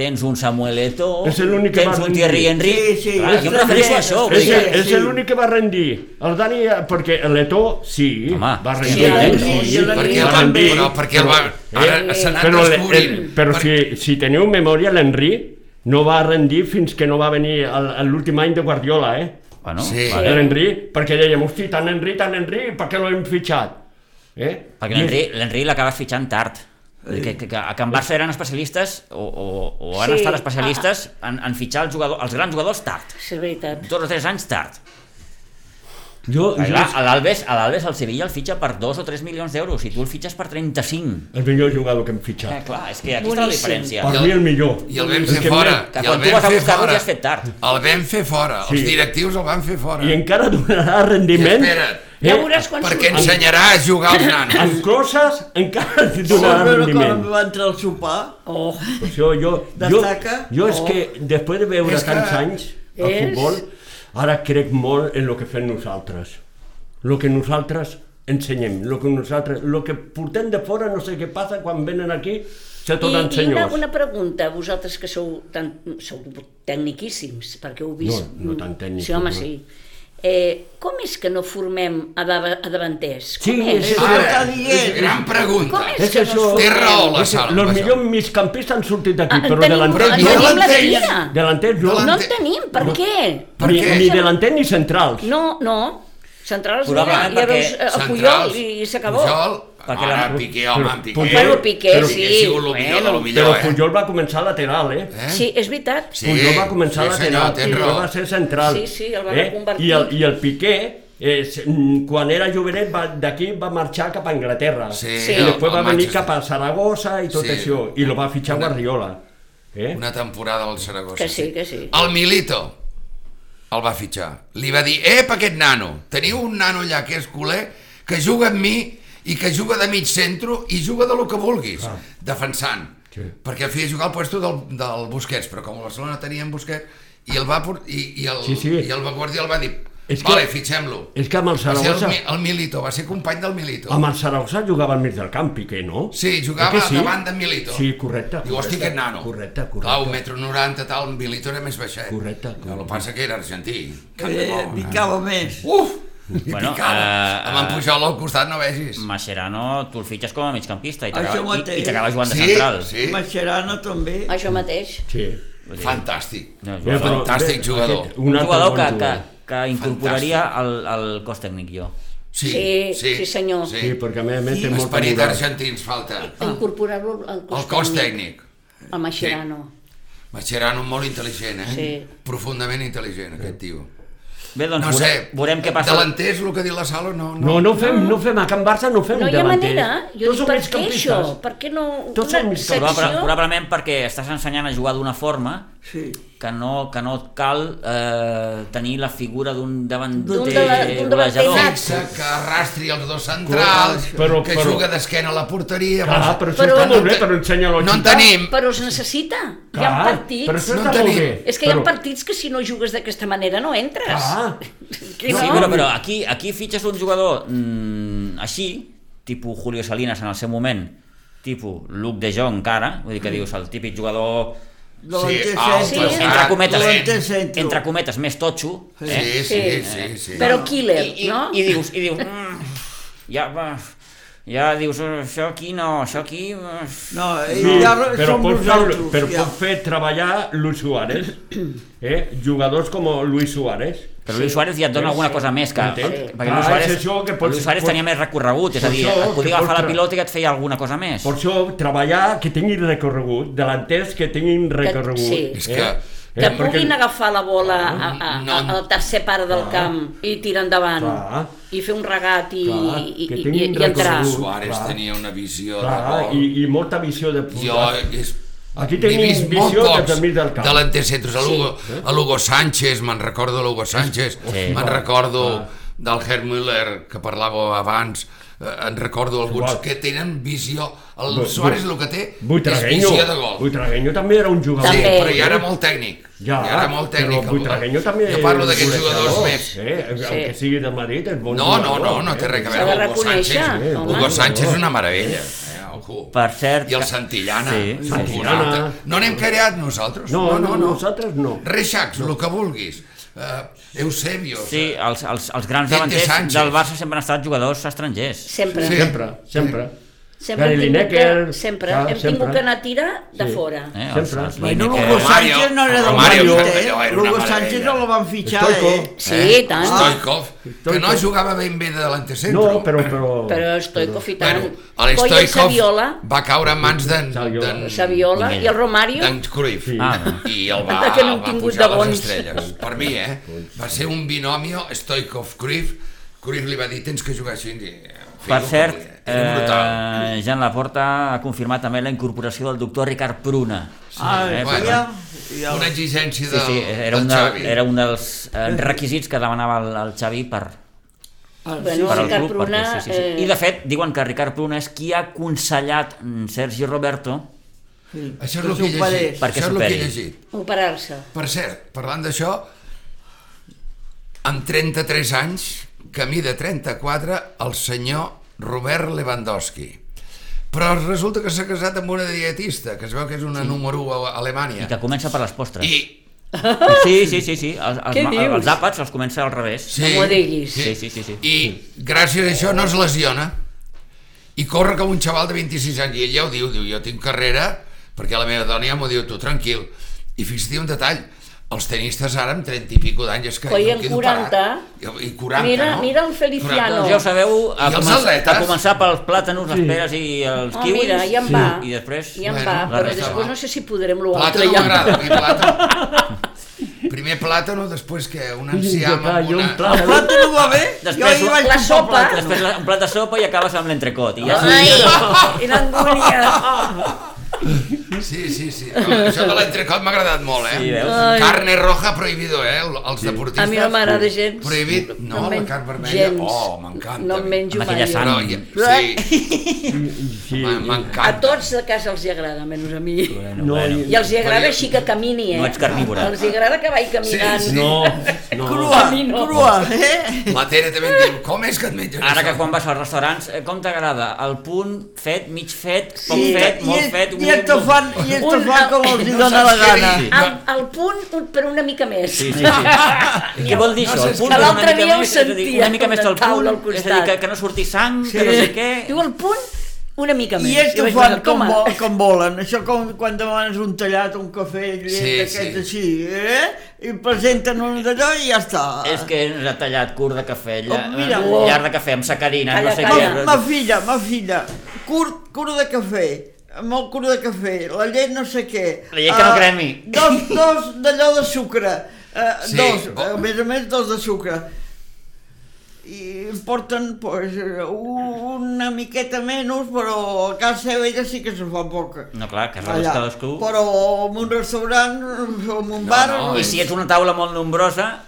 Speaker 1: tens un Samuel Eto'o,
Speaker 5: És l'únic que
Speaker 1: tens un
Speaker 5: va rendir.
Speaker 1: Thierry Henry...
Speaker 2: Sí, sí,
Speaker 1: clar,
Speaker 2: és
Speaker 1: jo em refereixo a això,
Speaker 2: tremendo.
Speaker 1: vull
Speaker 5: És,
Speaker 1: dir
Speaker 5: el-
Speaker 1: que...
Speaker 5: és
Speaker 2: sí.
Speaker 5: l'únic que va rendir. El Dani, eh, perquè l'Eto, sí,
Speaker 1: Home,
Speaker 5: va
Speaker 1: sí,
Speaker 5: rendir.
Speaker 4: el Henry,
Speaker 5: sí,
Speaker 4: el
Speaker 3: eh? Perquè el
Speaker 4: Henry.
Speaker 5: va
Speaker 3: van,
Speaker 5: rendir,
Speaker 3: però perquè el van, ara
Speaker 5: eh,
Speaker 3: s'ha anat
Speaker 5: però,
Speaker 3: descobrint.
Speaker 5: el, però
Speaker 3: Per-
Speaker 5: si, si teniu memòria, l'Enri no va rendir fins que no va venir el- el- l'últim any de Guardiola, eh?
Speaker 1: Bueno,
Speaker 3: Sí.
Speaker 1: vale.
Speaker 5: L'Enri, perquè dèiem, hosti, tant Enri, tant Enri, per què l'hem fitxat? Eh?
Speaker 1: Perquè l'Enri l'Enri l'acabes fitxant tard. Vull dir Que, que, que a Can Barça eren especialistes o, o, o han
Speaker 4: Sí,
Speaker 1: estat especialistes en, en fitxar els, jugador, els grans jugadors tard.
Speaker 4: Sí, és veritat.
Speaker 1: Dos o tres anys tard.
Speaker 5: Jo,
Speaker 1: Clar,
Speaker 5: jo,
Speaker 1: a l'Albes, a l'Albes el Sevilla el fitxa per 2 o 3 milions d'euros i tu el fitxes per 35.
Speaker 5: el millor jugador que hem
Speaker 1: Eh,
Speaker 5: fitxat.
Speaker 1: clar, és que aquí està la
Speaker 4: Boníssim.
Speaker 1: diferència.
Speaker 5: Per
Speaker 3: I el-
Speaker 5: mi el millor.
Speaker 3: I el vam
Speaker 5: El
Speaker 3: fer
Speaker 5: que
Speaker 3: fora.
Speaker 5: mira,
Speaker 1: que
Speaker 3: i
Speaker 1: quan
Speaker 3: el
Speaker 1: tu vas
Speaker 3: vam
Speaker 1: a
Speaker 3: fer
Speaker 1: buscar-lo
Speaker 3: fora.
Speaker 1: ja has fet tard.
Speaker 3: El vam fer fora.
Speaker 5: Sí.
Speaker 3: Els directius el van fer fora.
Speaker 5: I encara donarà rendiment.
Speaker 3: I espera't.
Speaker 5: Eh?
Speaker 4: Ja veuràs quan
Speaker 3: Perquè
Speaker 4: surt.
Speaker 3: ensenyarà a jugar als nanos.
Speaker 5: En coses encara donarà
Speaker 2: Se'n que
Speaker 5: rendiment.
Speaker 2: va entrar al sopar.
Speaker 4: Oh,
Speaker 5: Per això jo, jo,
Speaker 2: Destaca?
Speaker 5: jo és
Speaker 2: Oh.
Speaker 5: que després de veure
Speaker 3: És que
Speaker 5: tants anys el
Speaker 4: és-
Speaker 5: futbol, ara crec molt en el que fem nosaltres. El que nosaltres ensenyem, el que nosaltres, el que portem de fora, no sé què passa quan venen aquí, se
Speaker 4: I,
Speaker 5: tornen
Speaker 4: i una,
Speaker 5: senyors.
Speaker 4: una pregunta, vosaltres que sou, tan, sou tecniquíssims, perquè heu vist...
Speaker 5: No, no tan tècnics,
Speaker 4: Sí, home,
Speaker 5: no.
Speaker 4: sí. Eh, com és que no formem a, dava, a davanters?
Speaker 5: Sí,
Speaker 4: com és?
Speaker 5: sí, sí.
Speaker 3: Ara,
Speaker 2: dient.
Speaker 3: gran pregunta.
Speaker 4: Com és,
Speaker 5: És
Speaker 4: que
Speaker 5: això.
Speaker 4: no ens
Speaker 3: Té
Speaker 4: formem?
Speaker 3: raó la
Speaker 5: Els
Speaker 3: sala. vaja.
Speaker 5: millors migcampistes han sortit d'aquí,
Speaker 4: Ah, en
Speaker 5: però
Speaker 4: tenim-
Speaker 5: delanters
Speaker 4: en
Speaker 3: no.
Speaker 4: tenim la
Speaker 3: Delanters.
Speaker 4: fina.
Speaker 5: delanters no.
Speaker 4: No
Speaker 3: Delan-
Speaker 4: en tenim, per
Speaker 3: No.
Speaker 4: què?
Speaker 3: Per
Speaker 5: ni,
Speaker 3: què?
Speaker 5: ni delanters ni centrals.
Speaker 4: No, no, centrals no, ja
Speaker 1: Probablement perquè
Speaker 4: veus eh, a Puyol i, i s'acabó.
Speaker 3: Pujol,
Speaker 1: Perquè
Speaker 3: ara
Speaker 1: la-
Speaker 3: Piqué, home, en Piqué.
Speaker 5: Bueno,
Speaker 4: Piqué,
Speaker 3: Però
Speaker 4: sí,
Speaker 3: Piqué ha sigut el millor de lo
Speaker 4: bueno,
Speaker 5: Però
Speaker 3: millor, eh?
Speaker 5: Pujol va començar lateral, eh?
Speaker 3: Eh?
Speaker 4: Sí, és veritat.
Speaker 3: Sí.
Speaker 5: Puyol va començar
Speaker 3: sí,
Speaker 5: a
Speaker 3: senyor,
Speaker 5: lateral,
Speaker 3: tens
Speaker 5: Puyol
Speaker 3: raó.
Speaker 5: va ser central. eh?
Speaker 4: Sí, sí, el van reconvertir.
Speaker 5: I el, i el Piqué, eh, s- mm, quan era jovenet, va- d'aquí va marxar cap a Anglaterra.
Speaker 3: Sí,
Speaker 4: Sí.
Speaker 5: I
Speaker 4: el-
Speaker 5: després va
Speaker 3: el
Speaker 5: venir
Speaker 3: Manchester.
Speaker 5: cap a Saragossa i tot
Speaker 3: Sí.
Speaker 5: això. I lo va fitxar Guardiola. Eh?
Speaker 3: Una temporada al Saragossa.
Speaker 4: Que sí, que sí.
Speaker 3: El Milito. el va fitxar. Li va dir, ep, aquest nano, teniu un nano allà que és culer, que juga amb mi i que juga de mig centro i juga de lo que vulguis,
Speaker 5: Clar.
Speaker 3: defensant.
Speaker 5: Ah. Sí.
Speaker 3: Perquè feia jugar al puesto del, del Busquets, però com a Barcelona tenia en Busquets, i el va, por- i, i el,
Speaker 5: Sí, sí.
Speaker 3: I el Guardiola el va dir,
Speaker 5: És que-
Speaker 3: vale, fitxem-lo.
Speaker 5: És que amb el
Speaker 3: Va ser el,
Speaker 5: Saragossa...
Speaker 3: Mi- el Milito, va ser company del Milito.
Speaker 5: Amb el Saragossa jugava al mig del camp, Piqué, no?
Speaker 3: Sí, jugava
Speaker 5: Eh que
Speaker 3: davant de Milito.
Speaker 5: Sí, correcte.
Speaker 3: Diu, hosti,
Speaker 5: correcte,
Speaker 3: aquest nano.
Speaker 5: Correcte,
Speaker 3: Clar, un
Speaker 5: correcte.
Speaker 3: metro noranta, tal, un Milito era més baixet.
Speaker 5: Correcte, correcte.
Speaker 3: El que passa que era argentí.
Speaker 2: Eh, picava més.
Speaker 3: Uf! Bueno,
Speaker 1: Bueno,
Speaker 3: picava.
Speaker 1: eh,
Speaker 3: Amb en
Speaker 1: eh,
Speaker 3: Pujol al costat no vegis.
Speaker 1: Mascherano, tu el fitxes com a migcampista i
Speaker 2: Això
Speaker 1: t'acaba- i-
Speaker 2: mateix.
Speaker 1: i t'acabes jugant de
Speaker 3: Sí,
Speaker 1: central.
Speaker 3: sí.
Speaker 2: Mascherano també.
Speaker 4: Això mateix.
Speaker 5: Sí.
Speaker 1: Vull dir,
Speaker 3: Fantàstic.
Speaker 1: No, és
Speaker 5: Eh,
Speaker 1: un
Speaker 5: però,
Speaker 3: Fantàstic
Speaker 5: bé,
Speaker 3: jugador.
Speaker 5: aquest,
Speaker 1: un
Speaker 5: altre
Speaker 1: jugador
Speaker 5: bon
Speaker 1: que, que,
Speaker 5: jugador.
Speaker 1: que incorporaria al, al cos tècnic jo.
Speaker 3: Sí,
Speaker 4: Sí, sí, senyor.
Speaker 3: Sí.
Speaker 5: Sí, perquè a més a més té molta
Speaker 3: Esperit
Speaker 5: moral.
Speaker 3: argentí ens falta.
Speaker 4: Incorporar-lo al cos,
Speaker 3: El Ah. cos tècnic.
Speaker 4: El Mascherano.
Speaker 3: Mascherano molt intel·ligent, eh?
Speaker 4: Sí.
Speaker 3: Profundament intel·ligent, aquest tio.
Speaker 1: Bé, doncs
Speaker 3: No
Speaker 1: veurem,
Speaker 3: sé,
Speaker 1: veurem què passa.
Speaker 3: Delanters, el que diu la Sala, no... no.
Speaker 5: No, no fem, no fem, a Can Barça no fem
Speaker 4: No hi ha
Speaker 5: davanters.
Speaker 4: manera. Jo dic,
Speaker 5: Tots som
Speaker 4: per què això?
Speaker 5: migcampistes.
Speaker 4: Per què no... una
Speaker 5: Tots som migcampistes.
Speaker 4: secció-
Speaker 1: Probable, probablement perquè estàs ensenyant a jugar d'una forma
Speaker 2: Sí.
Speaker 1: que no, que no et cal eh, tenir la figura d'un davanter
Speaker 4: D'un dava- d'un davanter
Speaker 1: golejador.
Speaker 4: nat.
Speaker 3: Fixa, que arrastri els dos centrals,
Speaker 5: Però-
Speaker 3: que
Speaker 5: però-
Speaker 3: juga d'esquena a la porteria...
Speaker 5: Clar,
Speaker 3: vols-
Speaker 5: però això
Speaker 4: Però-
Speaker 5: està molt bé, però ensenya-lo a
Speaker 3: No en
Speaker 5: xicar.
Speaker 3: tenim.
Speaker 4: Però es necessita. hi ha
Speaker 5: Clar,
Speaker 4: partits...
Speaker 5: Ah, Però això
Speaker 3: No
Speaker 5: està
Speaker 3: tenim.
Speaker 5: molt bé.
Speaker 4: És que hi ha
Speaker 5: però- Ah.
Speaker 4: partits que si no jugues d'aquesta manera no entres.
Speaker 5: Clar.
Speaker 4: Que
Speaker 1: Sí,
Speaker 4: no?
Speaker 1: però, però aquí, aquí fitxes un jugador mm, així, tipus Julio Salinas en el seu moment, tipus Luc de Jong encara, vull dir que dius el típic jugador
Speaker 2: Davanter
Speaker 3: alt,
Speaker 2: centro.
Speaker 4: Sí.
Speaker 1: entre cometes, eh,
Speaker 2: Davanter centro.
Speaker 1: entre cometes més totxo, eh?
Speaker 3: Sí, sí, sí, sí.
Speaker 4: Però killer,
Speaker 1: I, i,
Speaker 4: no?
Speaker 1: i dius, i dius mm, ja, va, ja dius, "Eh, això aquí no, això aquí... eh,
Speaker 2: No, i
Speaker 5: Sí,
Speaker 2: ja
Speaker 5: però,
Speaker 2: som
Speaker 5: pot fer,
Speaker 2: nosaltres.
Speaker 5: però
Speaker 2: ja.
Speaker 5: pot fer treballar Luis Suárez, eh? jugadors com Luis Suárez.
Speaker 1: Però Luis Suárez ja et dona
Speaker 5: Sí,
Speaker 1: alguna
Speaker 5: sí.
Speaker 1: cosa més que...
Speaker 5: Entens?
Speaker 1: perquè-
Speaker 5: Clar,
Speaker 1: Perquè Luis
Speaker 5: és
Speaker 1: Suárez,
Speaker 5: això que pots-
Speaker 1: Luis Suárez
Speaker 5: pots-
Speaker 1: tenia més recorregut, és a
Speaker 5: per
Speaker 1: dir,
Speaker 5: això,
Speaker 1: et
Speaker 5: que
Speaker 1: podia agafar
Speaker 5: pots
Speaker 1: la
Speaker 5: tra-
Speaker 1: pilota i et feia alguna cosa més.
Speaker 5: Per això, treballar que tinguin recorregut, delanters que tinguin recorregut.
Speaker 4: sí.
Speaker 3: És que-
Speaker 5: Eh,
Speaker 4: Que puguin agafar la bola a, a, a,
Speaker 3: No.
Speaker 4: al tercer part del camp i tirar endavant
Speaker 5: Clar.
Speaker 4: i fer un regat i,
Speaker 5: Clar,
Speaker 4: i,
Speaker 5: que
Speaker 4: i, i,
Speaker 5: tinguin
Speaker 4: i entrar.
Speaker 5: recorregut.
Speaker 3: Suárez
Speaker 5: Clar.
Speaker 3: tenia una visió
Speaker 5: Clar,
Speaker 3: de gol.
Speaker 5: i, i molta visió de
Speaker 3: Jo eh, és...
Speaker 5: Aquí
Speaker 3: n'he
Speaker 5: tenim
Speaker 3: vist molt
Speaker 5: visió
Speaker 3: pocs
Speaker 5: des del mig del camp.
Speaker 3: Delanters centres, a Lugo, a Lugo Sánchez, me'n recordo Lugo Sánchez, me'n recordo
Speaker 5: Ah.
Speaker 3: del Herr Müller, que parlàveu abans, eh, en recordo alguns
Speaker 5: Igual.
Speaker 3: que tenen visió... El
Speaker 5: Bu-
Speaker 3: Suárez
Speaker 5: bu-
Speaker 3: el que té és
Speaker 5: Butragueño,
Speaker 3: visió de gol.
Speaker 5: Butragueño també era un jugador.
Speaker 3: Sí,
Speaker 4: També.
Speaker 3: però ja era molt tècnic.
Speaker 5: Ja,
Speaker 3: ja era molt tècnic.
Speaker 5: Però Butragueño també...
Speaker 3: jo parlo d'aquests
Speaker 5: és un
Speaker 3: jugadors
Speaker 5: golejador,
Speaker 3: més.
Speaker 5: Eh? Sí.
Speaker 4: Sí.
Speaker 5: Aunque sigui de Madrid, és bon
Speaker 3: No, no,
Speaker 5: jugador. eh?
Speaker 3: no, no té res a
Speaker 4: S'ha
Speaker 3: veure
Speaker 4: de
Speaker 3: amb Hugo
Speaker 4: reconèixer,
Speaker 3: Sánchez.
Speaker 4: home.
Speaker 3: Hugo Sánchez és una meravella. Eh, ojo.
Speaker 1: Per cert...
Speaker 3: I el
Speaker 1: que-
Speaker 3: Santillana.
Speaker 1: Sí,
Speaker 3: un
Speaker 1: sí.
Speaker 5: Santillana.
Speaker 3: altre. No n'hem creat nosaltres.
Speaker 5: No, no, nosaltres no.
Speaker 3: Reixacs, el que vulguis. Eh, Eusebio.
Speaker 1: Sí, els, els, els grans
Speaker 3: Tete
Speaker 1: davanters
Speaker 3: Sánchez.
Speaker 1: del Barça sempre han estat jugadors estrangers.
Speaker 4: Sempre.
Speaker 3: Sí.
Speaker 5: Sempre, sempre.
Speaker 4: Sempre,
Speaker 5: Gary
Speaker 4: hem tingut,
Speaker 5: Lineker,
Speaker 4: que, sempre.
Speaker 5: clar,
Speaker 4: hem
Speaker 5: sempre.
Speaker 4: tingut que anar a tirar de
Speaker 5: Sí.
Speaker 4: fora.
Speaker 1: Eh?
Speaker 5: Sempre.
Speaker 1: Els, els
Speaker 2: Bueno,
Speaker 1: Lineker-
Speaker 2: Lugo
Speaker 3: Romario,
Speaker 2: Sánchez no era del
Speaker 3: Romario,
Speaker 2: Madrid,
Speaker 3: allò
Speaker 2: eh?
Speaker 3: era una
Speaker 2: Lugo
Speaker 3: meravella.
Speaker 2: Sánchez no la van fitxar,
Speaker 5: Stoico.
Speaker 2: eh?
Speaker 4: Sí, i tant.
Speaker 3: Stoikov, que no
Speaker 5: Stoikov.
Speaker 3: jugava ben bé de
Speaker 5: No,
Speaker 3: delantecentro.
Speaker 5: però... però...
Speaker 4: Però Stoikov i tant.
Speaker 3: Bueno, el
Speaker 4: Coll i
Speaker 3: Stoikov
Speaker 4: Saviola,
Speaker 3: va caure en mans d'en
Speaker 5: Saviola.
Speaker 3: d'en-
Speaker 4: Saviola
Speaker 1: Vinga.
Speaker 4: i el Romario.
Speaker 3: d'en Cruyff.
Speaker 5: Sí.
Speaker 1: Ah.
Speaker 3: I el va,
Speaker 4: Que no hem
Speaker 3: el va
Speaker 4: tingut
Speaker 3: pujar
Speaker 4: de
Speaker 3: a les
Speaker 4: bons.
Speaker 3: estrelles. Per mi, eh? Va ser un binomio Stoikov-Cruyff. Cruyff li va dir, tens que jugar així. I, eh, feia
Speaker 1: Per
Speaker 3: el que
Speaker 1: cert,
Speaker 3: volia. Era brutal.
Speaker 1: eh, Jan Laporta ha confirmat també la incorporació del doctor Ricard Pruna.
Speaker 2: Ah,
Speaker 1: eh,
Speaker 3: bueno.
Speaker 1: per-
Speaker 2: ja, ja.
Speaker 3: Una exigència
Speaker 1: eh, Sí,
Speaker 3: del,
Speaker 1: sí, era un,
Speaker 3: del
Speaker 1: de,
Speaker 3: Xavi.
Speaker 1: era un dels eh, requisits que demanava el, el Xavi per,
Speaker 2: Ah, sí,
Speaker 4: Bueno,
Speaker 1: per al
Speaker 4: Ricard
Speaker 1: club.
Speaker 4: Pruna... eh,
Speaker 1: perquè, sí, sí, sí. I de fet, diuen que Ricard Pruna és qui ha aconsellat mm, Sergi Roberto
Speaker 2: sí.
Speaker 3: Això és el que he
Speaker 2: s'ho
Speaker 3: llegit.
Speaker 2: parés.
Speaker 1: Per- Perquè
Speaker 3: Això és el que he
Speaker 1: superi.
Speaker 3: llegit.
Speaker 4: eh, operar-se.
Speaker 3: Per cert, parlant d'això, amb 33 anys, camí de 34, el senyor Robert Lewandowski. Però resulta que s'ha casat amb una dietista, que es veu que és una sí. número 1 a Alemanya.
Speaker 1: i que comença per les postres.
Speaker 3: I,
Speaker 1: Sí, sí, sí, sí. Els, els,
Speaker 4: Què
Speaker 1: ma-
Speaker 4: dius?
Speaker 1: els àpats els comença al revés.
Speaker 3: sí,
Speaker 4: No m'ho diguis.
Speaker 1: Sí, sí, sí, sí.
Speaker 3: I gràcies a això no es lesiona. I corre com un xaval de 26 anys. I ell ja ho diu, diu, jo tinc carrera, perquè la meva dona ja m'ho diu, tu tranquil. I fixa-t'hi un detall, els tenistes ara amb 30 i pico d'anys és que
Speaker 4: Coi,
Speaker 3: jo
Speaker 4: en
Speaker 3: quedo
Speaker 4: 40.
Speaker 3: parat. Jo- I 40,
Speaker 4: Mira-
Speaker 3: no?
Speaker 4: mira el Feliciano.
Speaker 1: Doncs ja ho sabeu, a,
Speaker 3: I els
Speaker 1: començar, a
Speaker 3: atletes?
Speaker 1: començar pels plàtanos, les
Speaker 5: Sí.
Speaker 1: peres i els
Speaker 4: Oh,
Speaker 1: kiwis.
Speaker 4: mira, ja em va.
Speaker 1: I després...
Speaker 4: I em
Speaker 3: Bueno,
Speaker 4: va,
Speaker 3: la
Speaker 4: però
Speaker 3: resta
Speaker 4: després
Speaker 3: va.
Speaker 4: no sé si podrem l'altre.
Speaker 3: Plàtano
Speaker 4: ja.
Speaker 3: m'agrada, a mi plàtano. Primer plàtano, després que un enciam
Speaker 5: Ja,
Speaker 3: amb
Speaker 5: jo
Speaker 3: una...
Speaker 5: un pla-
Speaker 2: El plato no va bé? Jo
Speaker 1: Després,
Speaker 2: hi vaig
Speaker 4: la
Speaker 2: comprar
Speaker 4: sopa.
Speaker 2: plàtano.
Speaker 1: Després la- un plat de sopa i acabes amb l'entrecot. I ja
Speaker 4: Ai, quina angúnia.
Speaker 3: Sí, sí, sí. Això de l'entrecot m'ha agradat molt, eh?
Speaker 1: Sí, veus?
Speaker 4: Ai.
Speaker 3: Carne roja prohibido, eh? el- Els deportistes.
Speaker 4: A mi no m'agrada gens.
Speaker 3: Prohibit? No,
Speaker 4: em
Speaker 3: la
Speaker 4: men-
Speaker 3: carn vermella?
Speaker 4: gens.
Speaker 3: Oh, m'encanta.
Speaker 4: No em menjo
Speaker 1: Amb aquella
Speaker 4: mai.
Speaker 1: sang.
Speaker 3: Però, ja, sí,
Speaker 5: Sí,
Speaker 3: m'a-
Speaker 4: A
Speaker 3: m'encanta.
Speaker 4: tots de casa els hi agrada, menys a mi.
Speaker 1: Bueno,
Speaker 5: No,
Speaker 1: bueno.
Speaker 4: I els hi agrada
Speaker 3: Però jo-
Speaker 4: així que camini, eh?
Speaker 1: No ets carnívora.
Speaker 4: Els hi agrada que vagi caminant.
Speaker 3: Sí, sí.
Speaker 5: no, no.
Speaker 2: Crua,
Speaker 4: A mi no.
Speaker 2: crua, eh?
Speaker 3: La Tere també em diu, com és que et menges
Speaker 1: Ara que
Speaker 3: això?"
Speaker 1: quan vas als restaurants, eh, com t'agrada? El punt fet, mig fet, poc
Speaker 2: I,
Speaker 1: fet,
Speaker 2: i,
Speaker 1: molt fet...
Speaker 2: i et ho fan, i et ho
Speaker 4: Un-
Speaker 2: fan com els hi
Speaker 3: no
Speaker 2: dóna la
Speaker 3: saps què
Speaker 2: gana.
Speaker 3: dir.
Speaker 4: Al, al punt, un, però una mica més.
Speaker 1: Sí, sí, sí. Què vol dir
Speaker 3: No
Speaker 1: això?
Speaker 3: sé,
Speaker 1: El punt
Speaker 4: que
Speaker 1: és una
Speaker 4: l'altre
Speaker 1: mica
Speaker 4: dia ho
Speaker 1: més, és a dir,
Speaker 4: sentia,
Speaker 1: Una mica més
Speaker 4: una
Speaker 1: del
Speaker 4: taula
Speaker 1: punt,
Speaker 4: al
Speaker 1: és a dir,
Speaker 4: costat.
Speaker 1: que, que no surti sang,
Speaker 2: Sí.
Speaker 1: que no sé què...
Speaker 4: Eh, Diu "Ah". al punt, una mica més.
Speaker 2: I ells ho
Speaker 4: vaig
Speaker 2: fan
Speaker 4: pensar,
Speaker 2: com,
Speaker 4: "Home,
Speaker 2: vol, com volen, això com quan demanes un tallat, un cafè, i
Speaker 3: Sí,
Speaker 2: sí, sí.
Speaker 3: sí.
Speaker 2: així, eh? I presenten un d'allò i ja està.
Speaker 1: És que ens ha tallat curt de cafè, lla,
Speaker 2: Oh, mira.
Speaker 1: eh, llarg de cafè, amb sacarina,
Speaker 4: Calla,
Speaker 1: no sé
Speaker 4: calla.
Speaker 1: què...
Speaker 2: Ah, Ma, ma filla, ma filla, curt, curt de cafè, molt curt de cafè, la llet no sé què.
Speaker 1: La llet que no
Speaker 2: eh,
Speaker 1: cremi.
Speaker 2: Dos, dos d'allò de sucre, eh,
Speaker 3: Sí,
Speaker 2: dos,
Speaker 3: bo-
Speaker 2: eh, a més a més dos de sucre. I em porten pues, eh, u- una miqueta menys, però a casa seva ella sí que se fa poca.
Speaker 1: No, clar, que rebes
Speaker 2: Allà.
Speaker 1: cadascú...
Speaker 2: Però en un restaurant, en un bar...
Speaker 3: no,
Speaker 1: I si ets una taula molt nombrosa,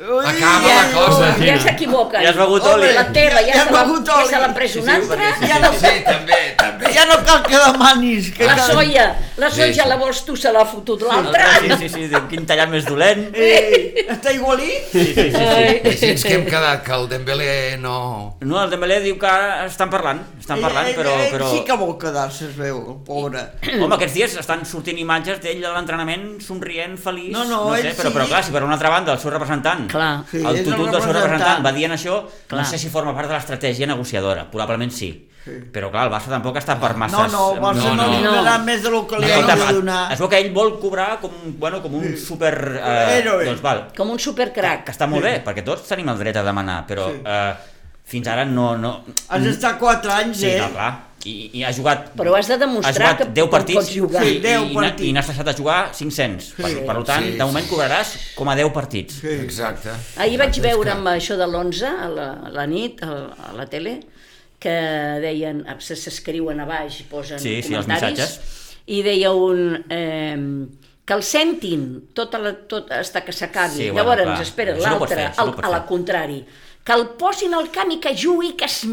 Speaker 2: Ui,
Speaker 1: Ah,
Speaker 3: Acaba la
Speaker 2: ja-
Speaker 3: cosa.
Speaker 4: Ja s'equivoquen.
Speaker 1: Ja has begut oli.
Speaker 4: La teva ja,
Speaker 2: Ja
Speaker 4: se
Speaker 2: he
Speaker 4: la,
Speaker 2: begut
Speaker 4: ja
Speaker 2: oli.
Speaker 4: se l'han pres un
Speaker 1: Sí, sí,
Speaker 4: altre.
Speaker 1: perquè sí,
Speaker 4: ja
Speaker 1: sí.
Speaker 4: la,
Speaker 3: Sí, també, també.
Speaker 2: Ja no cal que demanis. Que
Speaker 1: Ah.
Speaker 4: la
Speaker 2: cal-
Speaker 4: soia, la soia
Speaker 3: Sí,
Speaker 4: ja
Speaker 3: sí.
Speaker 4: la vols tu, se l'ha fotut l'altre.
Speaker 1: sí, sí, sí, diu, quin tallat més dolent...
Speaker 2: Eh, està igualit?
Speaker 1: Sí, sí, sí, sí.
Speaker 3: I si ens que hem quedat que el Dembélé no...
Speaker 1: No, el Dembélé diu que ara estan parlant, estan parlant,
Speaker 2: Eh, eh,
Speaker 1: però...
Speaker 2: eh,
Speaker 1: però...
Speaker 2: Sí que vol quedar-se, es veu, el pobre.
Speaker 1: Home, aquests dies estan sortint imatges d'ell a l'entrenament somrient, feliç,
Speaker 2: No, no,
Speaker 1: sé,
Speaker 2: ell
Speaker 1: però,
Speaker 2: sí.
Speaker 1: però clar, si per una altra banda el seu representant,
Speaker 4: Clar.
Speaker 2: Sí,
Speaker 1: el
Speaker 2: és el
Speaker 1: tutut del seu representant
Speaker 2: representant.
Speaker 1: va dient això,
Speaker 4: Clar.
Speaker 1: no sé si forma part de l'estratègia negociadora, probablement sí.
Speaker 2: Sí.
Speaker 1: Però clar, el Barça tampoc està per
Speaker 2: No,
Speaker 1: masses...
Speaker 2: no, el Barça no,
Speaker 3: no,
Speaker 2: no, li
Speaker 4: no.
Speaker 2: donarà més del que li
Speaker 1: Escolta'm,
Speaker 2: ha de donar.
Speaker 1: es veu que ell vol cobrar com, bueno, com un super...
Speaker 2: Héroe.
Speaker 1: doncs val,
Speaker 4: Com un supercrac.
Speaker 1: que està molt bé, perquè tots tenim el dret a demanar, però
Speaker 2: Sí.
Speaker 1: eh, fins ara no... no... mm,
Speaker 2: Has d'estar 4 anys,
Speaker 1: Sí,
Speaker 2: eh?
Speaker 1: no, clar. I, I ha jugat...
Speaker 4: Però has de demostrar
Speaker 1: ha jugat
Speaker 4: que-
Speaker 1: 10
Speaker 4: que
Speaker 1: partits
Speaker 4: pots jugar.
Speaker 1: i,
Speaker 2: Sí, 10
Speaker 1: i,
Speaker 2: partits.
Speaker 1: i n'has deixat de jugar 500. Per,
Speaker 2: Sí.
Speaker 1: per tant,
Speaker 3: Sí,
Speaker 1: de moment
Speaker 3: sí.
Speaker 1: cobraràs com a 10 partits.
Speaker 2: Sí.
Speaker 3: Exacte.
Speaker 4: Ahir vaig
Speaker 3: Exacte, és
Speaker 4: veure
Speaker 3: que-
Speaker 4: amb això de l'11 a la, a la nit, a, a la tele, que deien, a- se- s'escriuen a baix i posen
Speaker 1: Sí, sí, els
Speaker 4: comentaris, i deia un... Eh, que el sentin tot, a la, tot hasta que s'acabi.
Speaker 1: Sí,
Speaker 4: Sí,
Speaker 1: bueno,
Speaker 4: Llavors,
Speaker 1: clar,
Speaker 4: ens espera
Speaker 1: això no ho pots
Speaker 4: l'altre,
Speaker 1: fer, això no
Speaker 4: al-
Speaker 1: ho pots
Speaker 4: a la
Speaker 1: fer.
Speaker 4: contrari. Que el posin al camp i que jugui, que es,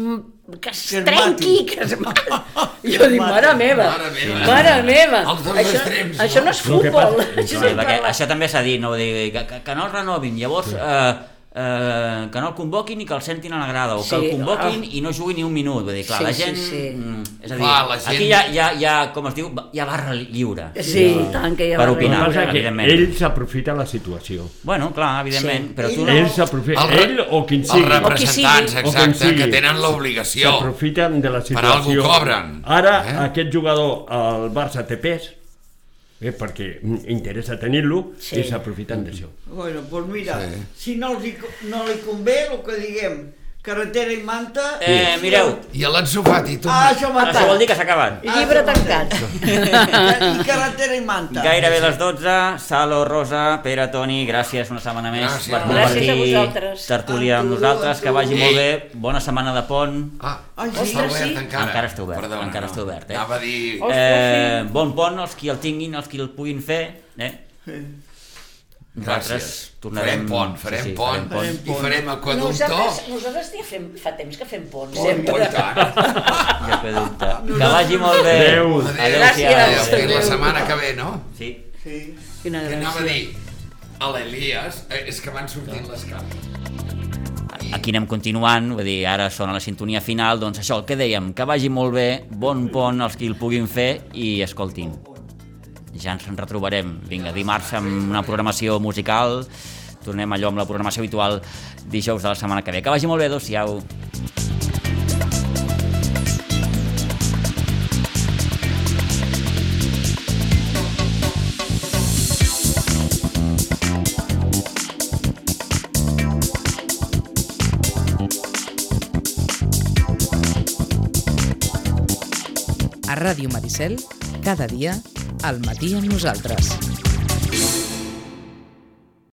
Speaker 4: que es,
Speaker 2: Que es
Speaker 4: trenqui,
Speaker 2: mati.
Speaker 4: que es mati. Jo
Speaker 2: mati.
Speaker 4: dic, mare meva,
Speaker 3: Mare meva.
Speaker 4: mare meva.
Speaker 3: Els dos
Speaker 4: això,
Speaker 3: extrems,
Speaker 4: això
Speaker 3: no?
Speaker 4: no és
Speaker 5: El que
Speaker 4: futbol.
Speaker 5: passa-
Speaker 4: Això
Speaker 1: Clar,
Speaker 4: és
Speaker 1: eh, perquè
Speaker 4: parlar.
Speaker 1: això també s'ha dit, no? Vull dir, que, que, que no el renovin, llavors eh, eh, que no el convoquin i que el sentin a la grada, o
Speaker 4: Sí,
Speaker 1: que el convoquin
Speaker 4: ah.
Speaker 1: i no jugui ni un minut. Vull dir, clar,
Speaker 4: Sí,
Speaker 1: la
Speaker 4: sí,
Speaker 1: gent...
Speaker 4: sí.
Speaker 1: mm, És a dir,
Speaker 3: Clar, la gent-
Speaker 1: aquí hi ha, hi ha, hi ha, com es diu, hi ha barra lliure.
Speaker 4: Sí, i tant que hi ha
Speaker 1: Per
Speaker 4: barra.
Speaker 5: El que
Speaker 1: opinar.
Speaker 5: passa és
Speaker 1: evidentment.
Speaker 5: que ell s'aprofita la situació.
Speaker 1: Bueno, clar, evidentment,
Speaker 4: Sí.
Speaker 1: però tu
Speaker 2: Ell
Speaker 1: no...
Speaker 5: Ell s'aprofita,
Speaker 3: El re-
Speaker 5: ell o qui
Speaker 3: Els
Speaker 5: sigui,
Speaker 4: rep-
Speaker 3: representants,
Speaker 4: sigui.
Speaker 5: O qui
Speaker 3: exacte,
Speaker 5: sigui.
Speaker 3: que tenen l'obligació.
Speaker 5: s'aprofiten de la
Speaker 3: Per
Speaker 5: situació.
Speaker 3: algú cobren.
Speaker 5: Ara,
Speaker 3: Eh?
Speaker 5: aquest jugador al Barça té pes, eh, perquè mm, interessa tenir-lo,
Speaker 4: Sí.
Speaker 5: i s'aprofiten d'això.
Speaker 2: Bueno, doncs mira,
Speaker 3: Sí.
Speaker 2: si no, els hi, no li convé, el que diguem, carretera i manta...
Speaker 1: Eh, mireu,
Speaker 3: I a l'Ansu Fati, tu...
Speaker 2: Ah, això m'ha Ah,
Speaker 1: això vol dir que s'ha acabat.
Speaker 4: Llibre tancat.
Speaker 2: I carretera i manta.
Speaker 1: Gairebé les 12, Salo, Rosa, Pere, Toni, gràcies una setmana més
Speaker 3: Gràcies.
Speaker 1: per
Speaker 4: Gràcies a
Speaker 1: compartir
Speaker 4: vosaltres.
Speaker 1: tertúlia amb
Speaker 2: Amb tu,
Speaker 1: nosaltres,
Speaker 2: amb
Speaker 1: que vagi
Speaker 3: tu.
Speaker 1: molt bé, bona setmana de pont,
Speaker 3: Ah,
Speaker 2: Ai,
Speaker 3: està
Speaker 2: ostres,
Speaker 3: obert
Speaker 4: sí.
Speaker 3: encara.
Speaker 1: Encara està obert, encara
Speaker 3: no.
Speaker 1: està obert, eh?
Speaker 3: Anava a dir...
Speaker 4: Ostres,
Speaker 1: eh, bon pont els qui el tinguin, els qui el puguin fer, eh? Nosaltres
Speaker 3: Gràcies.
Speaker 1: tornarem...
Speaker 3: Farem pont, farem
Speaker 1: sí, sí,
Speaker 3: pont,
Speaker 1: farem
Speaker 3: i farem aquaductor.
Speaker 4: Nosaltres, nosaltres ja fem, fa temps que fem ponts,
Speaker 3: Oh, i
Speaker 4: sempre.
Speaker 3: tant.
Speaker 1: pont. Ja que dubte. Que vagi molt bé.
Speaker 5: Adéu.
Speaker 1: Adéu-siau.
Speaker 3: Adéu,
Speaker 4: Gràcies.
Speaker 3: fins la setmana que ve, no?
Speaker 1: Sí.
Speaker 2: Sí.
Speaker 4: Quina
Speaker 3: Que anava a
Speaker 4: gràcia.
Speaker 3: dir a l'Elias, eh, és que van sortint les capes.
Speaker 1: Aquí anem continuant, vull dir, ara sona la sintonia final, doncs això, el que dèiem, que vagi molt bé, bon pont els qui el puguin fer i escoltin. Ja ens en retrobarem, vinga, dimarts amb una programació musical, tornem allò amb la programació habitual dijous de la setmana que ve. Que vagi molt bé, adeu-siau.
Speaker 6: A Ràdio Maricel, cada dia, al matí amb nosaltres.